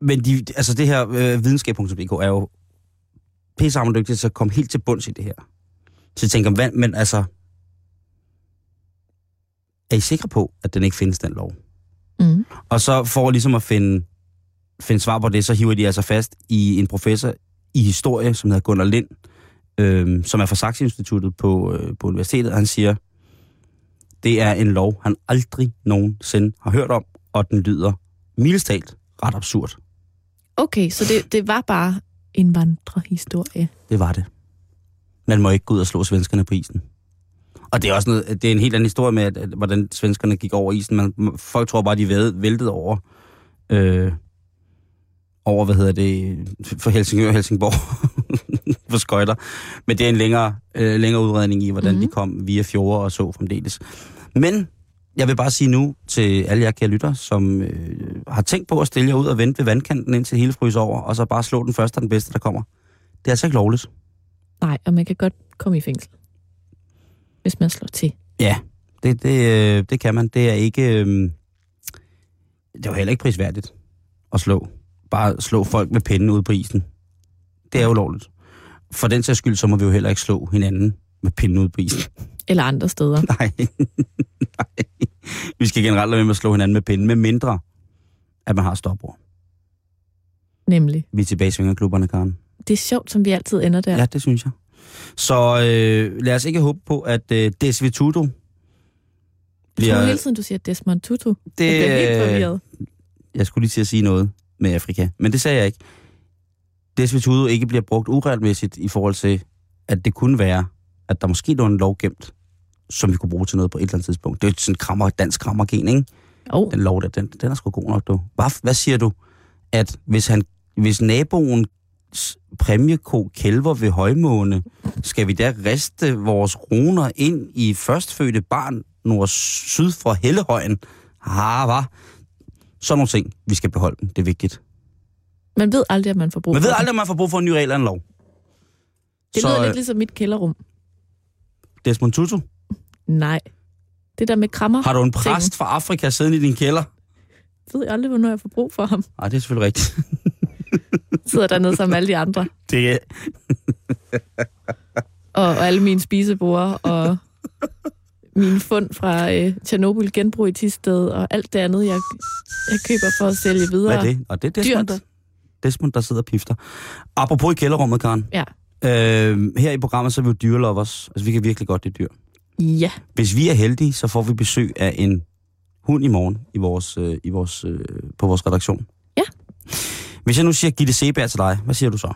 Men de, altså det her øh, videnskab.dk er jo pissehammerlygtigt til at komme helt til bunds i det her. Så jeg tænker, hvad, men altså, er I sikre på, at den ikke findes, den lov? Mm. Og så for ligesom at finde, finde svar på det, så hiver de altså fast i en professor i historie, som hedder Gunnar Lind, øhm, som er fra Saxe Instituttet på, øh, på universitetet, og han siger, det er en lov, han aldrig nogensinde har hørt om, og den lyder mildest talt ret absurd. Okay, så det, det var bare en vandrehistorie. Det var det. Man må ikke gå ud og slå svenskerne på isen. Og det er også noget, det er en helt anden historie med, at, at, hvordan svenskerne gik over isen. Man, m- folk tror bare, de væd- væltede over, øh, over, hvad hedder det, for Helsingør og Helsingborg på skøjter. Men det er en længere, øh, længere udredning i, hvordan mm-hmm. de kom via fjorde og så fremdeles. Men jeg vil bare sige nu til alle jer kære lytter, som øh, har tænkt på at stille jer ud og vente ved vandkanten, indtil det hele fryser over, og så bare slå den første og den bedste, der kommer. Det er altså ikke lovligt. Nej, og man kan godt komme i fængsel, hvis man slår til. Ja, det, det, øh, det kan man. Det er ikke... Øh, det var heller ikke prisværdigt at slå. Bare slå folk med pinden ud på isen. Det er ulovligt. For den sags skyld, så må vi jo heller ikke slå hinanden med pinden ud på isen. Eller andre steder. Nej. Nej. Vi skal generelt lade være med at slå hinanden med pinden, med mindre, at man har stopord. Nemlig. Vi er tilbage i svingerklubberne, Karen. Det er sjovt, som vi altid ender der. Ja, det synes jeg. Så øh, lad os ikke håbe på, at øh, Desvitudo Jeg tror hele tiden, du siger Desmond Tutu. Det, jeg bliver helt det, øh, forvirret. jeg skulle lige til at sige noget med Afrika, men det sagde jeg ikke. Desvitudo ikke bliver brugt uretmæssigt i forhold til, at det kunne være, at der måske lå en lov gemt, som vi kunne bruge til noget på et eller andet tidspunkt. Det er jo sådan en krammer, dansk krammergen, ikke? Oh, Den lov der, den, den er sgu god nok, du. Hvad, hvad siger du, at hvis, han, hvis naboens præmieko kælver ved højmåne, skal vi da riste vores kroner ind i førstfødte barn nord syd for Hellehøjen? Ah, hvad? Sådan nogle ting, vi skal beholde dem. Det er vigtigt. man ved aldrig, at man får brug Man for ved det. aldrig, om man får brug for en ny regel eller en lov. Det lyder Så lidt øh, ligesom mit kælderrum. Desmond Tutu, Nej. Det der med krammer, har du en præst fra Afrika siddende i din kælder? ved jeg aldrig, hvornår jeg får brug for ham. Nej, det er selvfølgelig rigtigt. Sidder dernede sammen med alle de andre, Det er, og, og alle mine spisebord, og mine fund fra øh, Tjernobyl genbrug i Tisted, og alt det andet, jeg, jeg køber for at sælge videre. Hvad er det? Og det er Desmond, Dyrt. Desmond der sidder og pifter. Apropos i kælderrummet, Karen. Ja. Øh, her i programmet, så er vi jo dyrelovers. Altså, vi kan virkelig godt lide dyr. Ja, Hvis vi er heldige, så får vi besøg af en hund i morgen i vores, øh, i vores, øh, på vores redaktion. Ja. Hvis jeg nu siger Gitte Seberg til dig, hvad siger du så?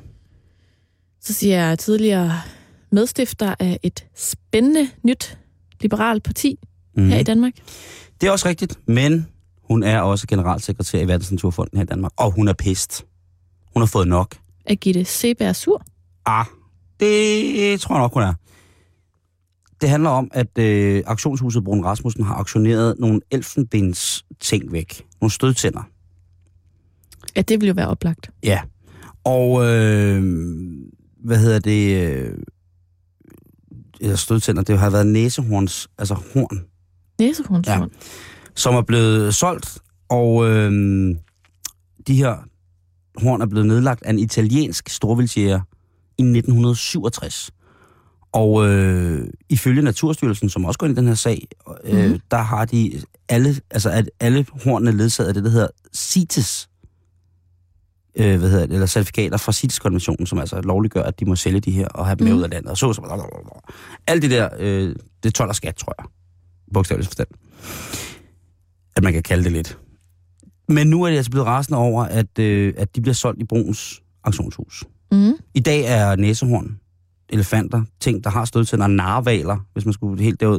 så siger jeg tidligere medstifter af et spændende nyt liberalt parti Mm. her i Danmark. Det er også rigtigt, men hun er også generalsekretær i Verdensnaturfonden her i Danmark. Og hun er pist. Hun har fået nok. Er Gitte Seberg sur? Ah, det øh, tror jeg nok, hun er. Det handler om, at øh, auktionshuset Brun Rasmussen har auktioneret nogle elfenbens ting væk. Nogle stødtænder. Ja, det ville jo være oplagt. Ja. Og øh, hvad hedder det? Øh, eller stødtænder, det har været næsehorns, altså horn, Næsehornsur. Ja. som er blevet solgt. Og øh, de her horn er blevet nedlagt af en italiensk storvildsjæger i 1967. Og øh, ifølge Naturstyrelsen, som også går ind i den her sag, øh, Mhm. mm. der har de alle, altså at alle hornene ledsaget af det, der hedder CITES, øh, hvad hedder det, eller certifikater fra CITES-konventionen, som altså lovliggør, at de må sælge de her og have dem med Mhm. ud af landet. Og så, så, alt det der, øh, det tåler skat, tror jeg. Bogstaveligt forstand. At man kan kalde det lidt. Men nu er de altså blevet rasende over, at, øh, at de bliver solgt i Bruns auktionshus. Mm. I dag er næsehorn, elefanter, ting, der har stødtænder, narvaler, hvis man skulle helt derud,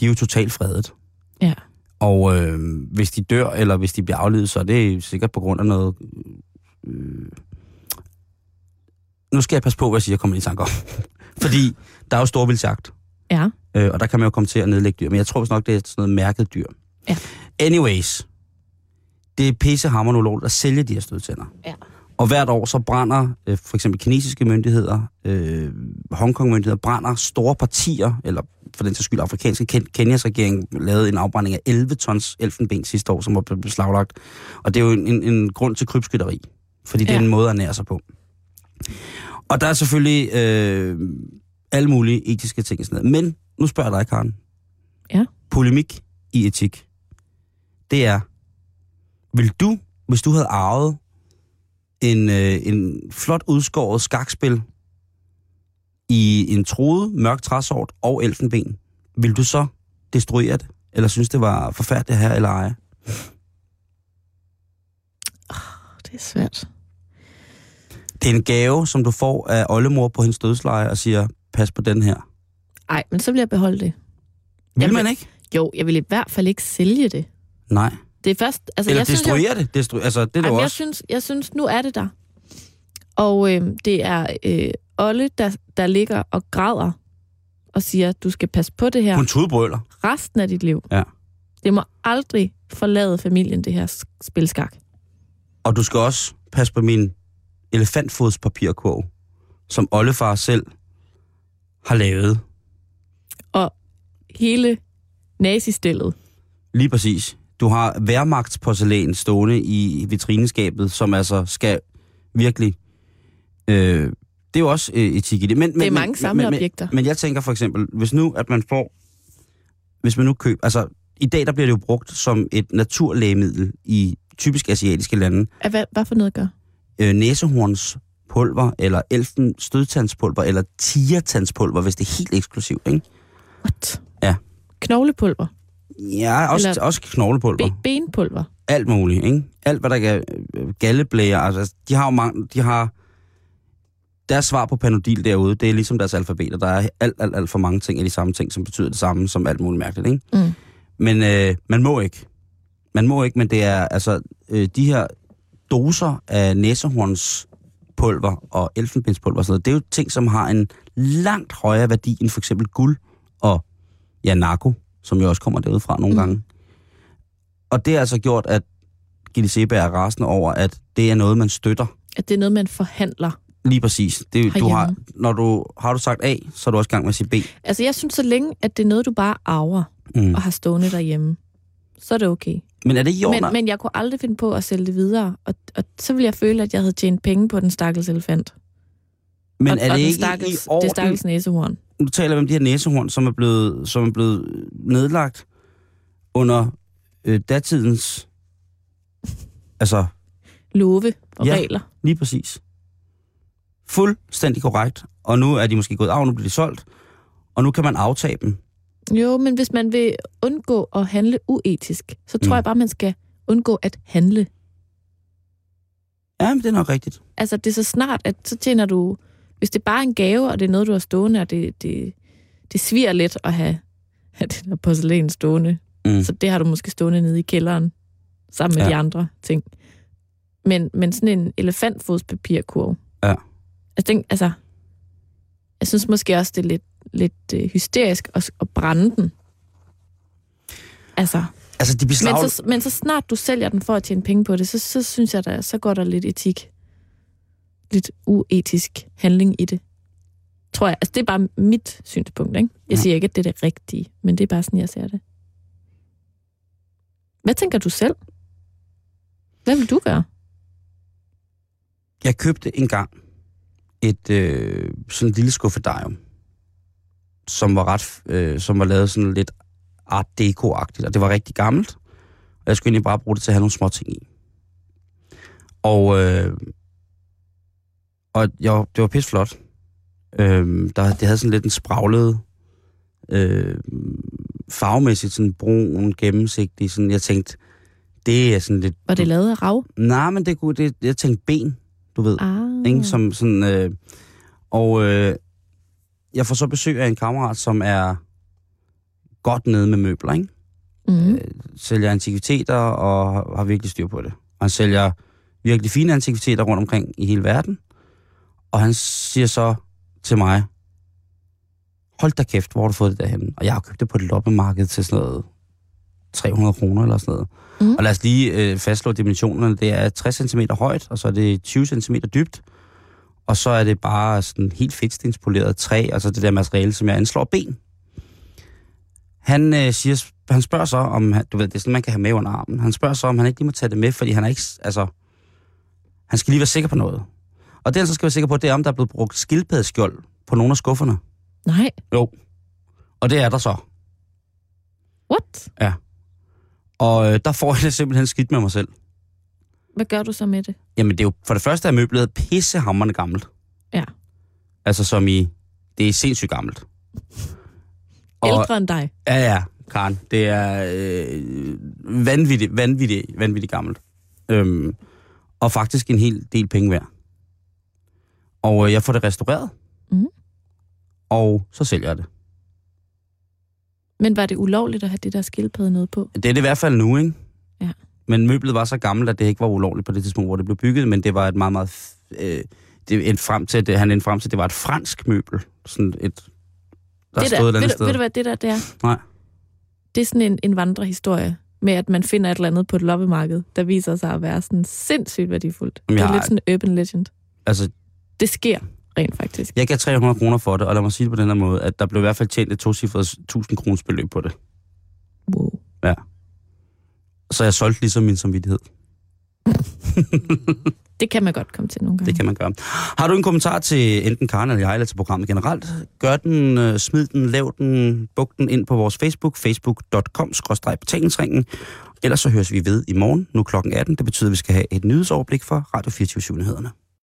de er jo totalt fredet. Ja. Og øh, hvis de dør, eller hvis de bliver aflevet, så er det sikkert på grund af noget... Øh, nu skal jeg passe på, hvad jeg siger, jeg kommer lige i tanke om. Fordi der er jo storvildsjagt. Ja. Øh, og der kan man jo komme til at nedlægge dyr. Men jeg tror vist nok, det er sådan noget mærket dyr. Ja. Anyways. Det er pissehammerende ulovligt at sælge de her stødtænder. Ja. Og hvert år så brænder øh, for eksempel kinesiske myndigheder, øh, Hongkong-myndigheder, brænder store partier, eller for den sags skyld afrikanske, Ken- Kenyas regering lavede en afbrænding af 11 tons elfenben sidste år, som var blevet beslaglagt. Og det er jo en, en, en grund til krybskytteri, fordi ja. det er Ja. en måde at nære sig på. Og der er selvfølgelig øh, alle mulige etiske ting og sådan noget. Men nu spørger jeg dig, Karen. Ja. Polemik i etik. Det er, vil du, hvis du havde arvet en, øh, en flot udskåret skakspil i en troet mørk træsort og elfenben, vil du så destruere det? Eller synes det var forfærdeligt her eller ej? Det er svært. Det er en gave, som du får af oldemor på hendes dødsleje og siger, pas på den her. Ej, men så vil jeg beholde det. Vil Jamen- man ikke? Jo, jeg vil i hvert fald ikke sælge det. Nej. Det er først... Altså, Eller jeg synes, jeg, destruere det. Destru- altså, det er det jo Jamen, jeg, også. synes, jeg synes, nu er det der. Og øh, det er øh, Olle, der, der ligger og græder og siger, du skal passe på det her Hun tudbrøler. resten af dit liv. Ja. Det må aldrig forlade familien, det her sk- spilskak. Og du skal også passe på min elefantfodspapirkurv, som oldefar selv har lavet. Hele nazistillet. Lige præcis. Du har værmagtsporcelæn stående i vitrineskabet, som altså skal virkelig... Øh, det er jo også øh, etik i det. Men, men, Det er men, mange samleobjekter. Men, men jeg tænker for eksempel, hvis nu at man får... Hvis man nu køber... Altså, i dag der bliver det jo brugt som et naturlægemiddel i typisk asiatiske lande. Hvad, hvad for noget gør? Øh, næsehorns pulver, eller elfen stødtandspulver, eller tigertandspulver, hvis det er helt eksklusivt, ikke? What? Ja. Knoglepulver. Ja, også, Eller- også knoglepulver. Be- benpulver. alt muligt, ikke? Alt, hvad der kan... øh, Galleblæger, altså, de har jo mange... De har... Deres svar på panodil derude, det er ligesom deres alfabeter. Der er alt, alt, alt for mange ting af de samme ting, som betyder det samme, som alt muligt mærkeligt, ikke? Mm. Men øh, man må ikke. Man må ikke, men det er... Altså, øh, de her doser af næsehornspulver og elfenbenspulver og sådan noget, det er jo ting, som har en langt højere værdi end for eksempel guld og ja, narko, som jo også kommer derude fra nogle Mm. mm. gange. Og det har altså gjort, at Gilles Seberg er rasende over, at det er noget, man støtter. At det er noget, man forhandler. Lige præcis. Det, du har, Herhjemme. når du har du sagt A, så er du også i gang med at sige B. Altså, jeg synes så længe, at det er noget, du bare arver Mm. og har stående derhjemme, så er det okay. Men er det ikke i orden, men, at- men jeg kunne aldrig finde på at sælge det videre, og, og så ville jeg føle, at jeg havde tjent penge på den stakkels elefant. men og, er det og den ikke stakkels, i det orden? stakkels næsehorn. nu taler vi om de her næsehorn, som er blevet, som er blevet nedlagt under øh, datidens... Altså, Love og Ja. ja. regler. lige præcis. Fuldstændig korrekt. Og nu er de måske gået af, nu bliver de solgt. Og nu kan man aftage dem. Jo, men hvis man vil undgå at handle uetisk, så tror Mm. mm. jeg bare, man skal undgå at handle. Ja, men det er nok rigtigt. Altså, det er så snart, at så tjener du... Hvis det er bare en gave, og det er noget, du har stående, og det, det, det sviger lidt at have, have det der porcelæn stående, Mm. Så det har du måske stående nede i kælderen, sammen med Ja. ja. de andre ting. Men, men sådan en elefantfodspapirkurv. Ja. Altså, den, altså, jeg synes måske også, det er lidt, lidt øh, hysterisk at, at brænde den. Altså, Altså, de beslag... men, så, men så snart du sælger den for at tjene penge på det, så, så synes jeg, der, så går der lidt etik. Lidt uetisk handling i det. Tror jeg. Altså, det er bare mit synspunkt, ikke? Jeg Ja. siger ikke, at det er det rigtige, men det er bare sådan, jeg ser det. Hvad tænker du selv? Hvad vil du gøre? Jeg købte engang et øh, sådan et lille skuffedarium, som var ret, øh, som var lavet sådan lidt art deco-agtigt, og det var rigtig gammelt. Og jeg skulle egentlig bare bruge det til at have nogle små ting i. Og, øh, og jeg, var- det var pisse flot. Øh, der, det havde sådan lidt en spraglet øh, farvemæssigt, sådan brun, gennemsigtig. Sådan, jeg tænkte, det er sådan lidt... Var det lavet af rav? Nej, men det kunne, det, jeg tænkte ben, du ved Ah. ikke? Som sådan, øh, og øh, jeg får så besøg af en kammerat, som er godt nede med møbler, ikke? mm. Sælger antikviteter og har- har virkelig styr på det. Og han sælger virkelig fine antikviteter rundt omkring i hele verden. Og han siger så til mig, hold da kæft, hvor har du fået det derhen? Og jeg har købt det på et loppemarked til sådan noget 300 kroner eller sådan noget. Mhm. Og lad os lige øh, fastslå dimensionerne. Det er 60 cm højt, og så er det 20 cm dybt. Og så er det bare sådan helt fedtstenspoleret træ, altså det der materiale, som jeg anslår ben. Han, øh, siger, han spørger så, om han- du ved, det er sådan, man kan have med under armen. Han spørger så, om han ikke lige må tage det med, fordi han er ikke, s- altså, han skal lige være sikker på noget. Og det, han så skal være sikker på, det er, om der er blevet brugt skildpaddeskjold på nogle af skufferne. Nej. Jo. Og det er der så. What? Og øh, der får jeg det simpelthen skidt med mig selv. Hvad gør du så med det? Jamen, det er jo, for det første er møblet pissehammerende gammelt. Ja. Altså som i, det er sindssygt gammelt. Og- Ældre end dig. Ja, ja, Karen. Det er øh, vanvittigt, vanvittigt, vanvittigt gammelt. Øhm, og faktisk en hel del penge værd. Og øh, jeg får det restaureret. Mhm. Og så sælger jeg det. Men var det ulovligt at have det der skildpadde nede på? Det er det i hvert fald nu, ikke? Ja. Men møblet var så gammelt, at det ikke var ulovligt på det tidspunkt, hvor det blev bygget, men det var et meget, meget... f- Øh, det endte frem til, det, han endte frem til, at det var et fransk møbel. Sådan et... Der det stod et eller andet ved, du, sted. ved du, hvad det der det er? Nej. Det er sådan en, en vandrehistorie med, at man finder et eller andet på et loppemarked, der viser sig at være sådan sindssygt værdifuldt. Jamen, det jeg er lidt har- sådan en urban legend. altså, Det sker rent faktisk. jeg gav 300 kroner for det, og lad mig sige det på den her måde, at der blev i hvert fald tjent et tocifret 1000 kroners beløb på det. Wow. Så jeg solgte ligesom min samvittighed. Det kan man godt komme til nogle gange. Det kan man gøre. Har du en kommentar til enten Karen eller jeg, eller til programmet generelt? Gør den, øh, smid den, lav den, buk den ind på vores Facebook, facebook.com-betalingsringen. Ellers så høres vi ved i morgen, nu klokken 18. Det betyder, at vi skal have et nyhedsoverblik for Radio 24 nyhederne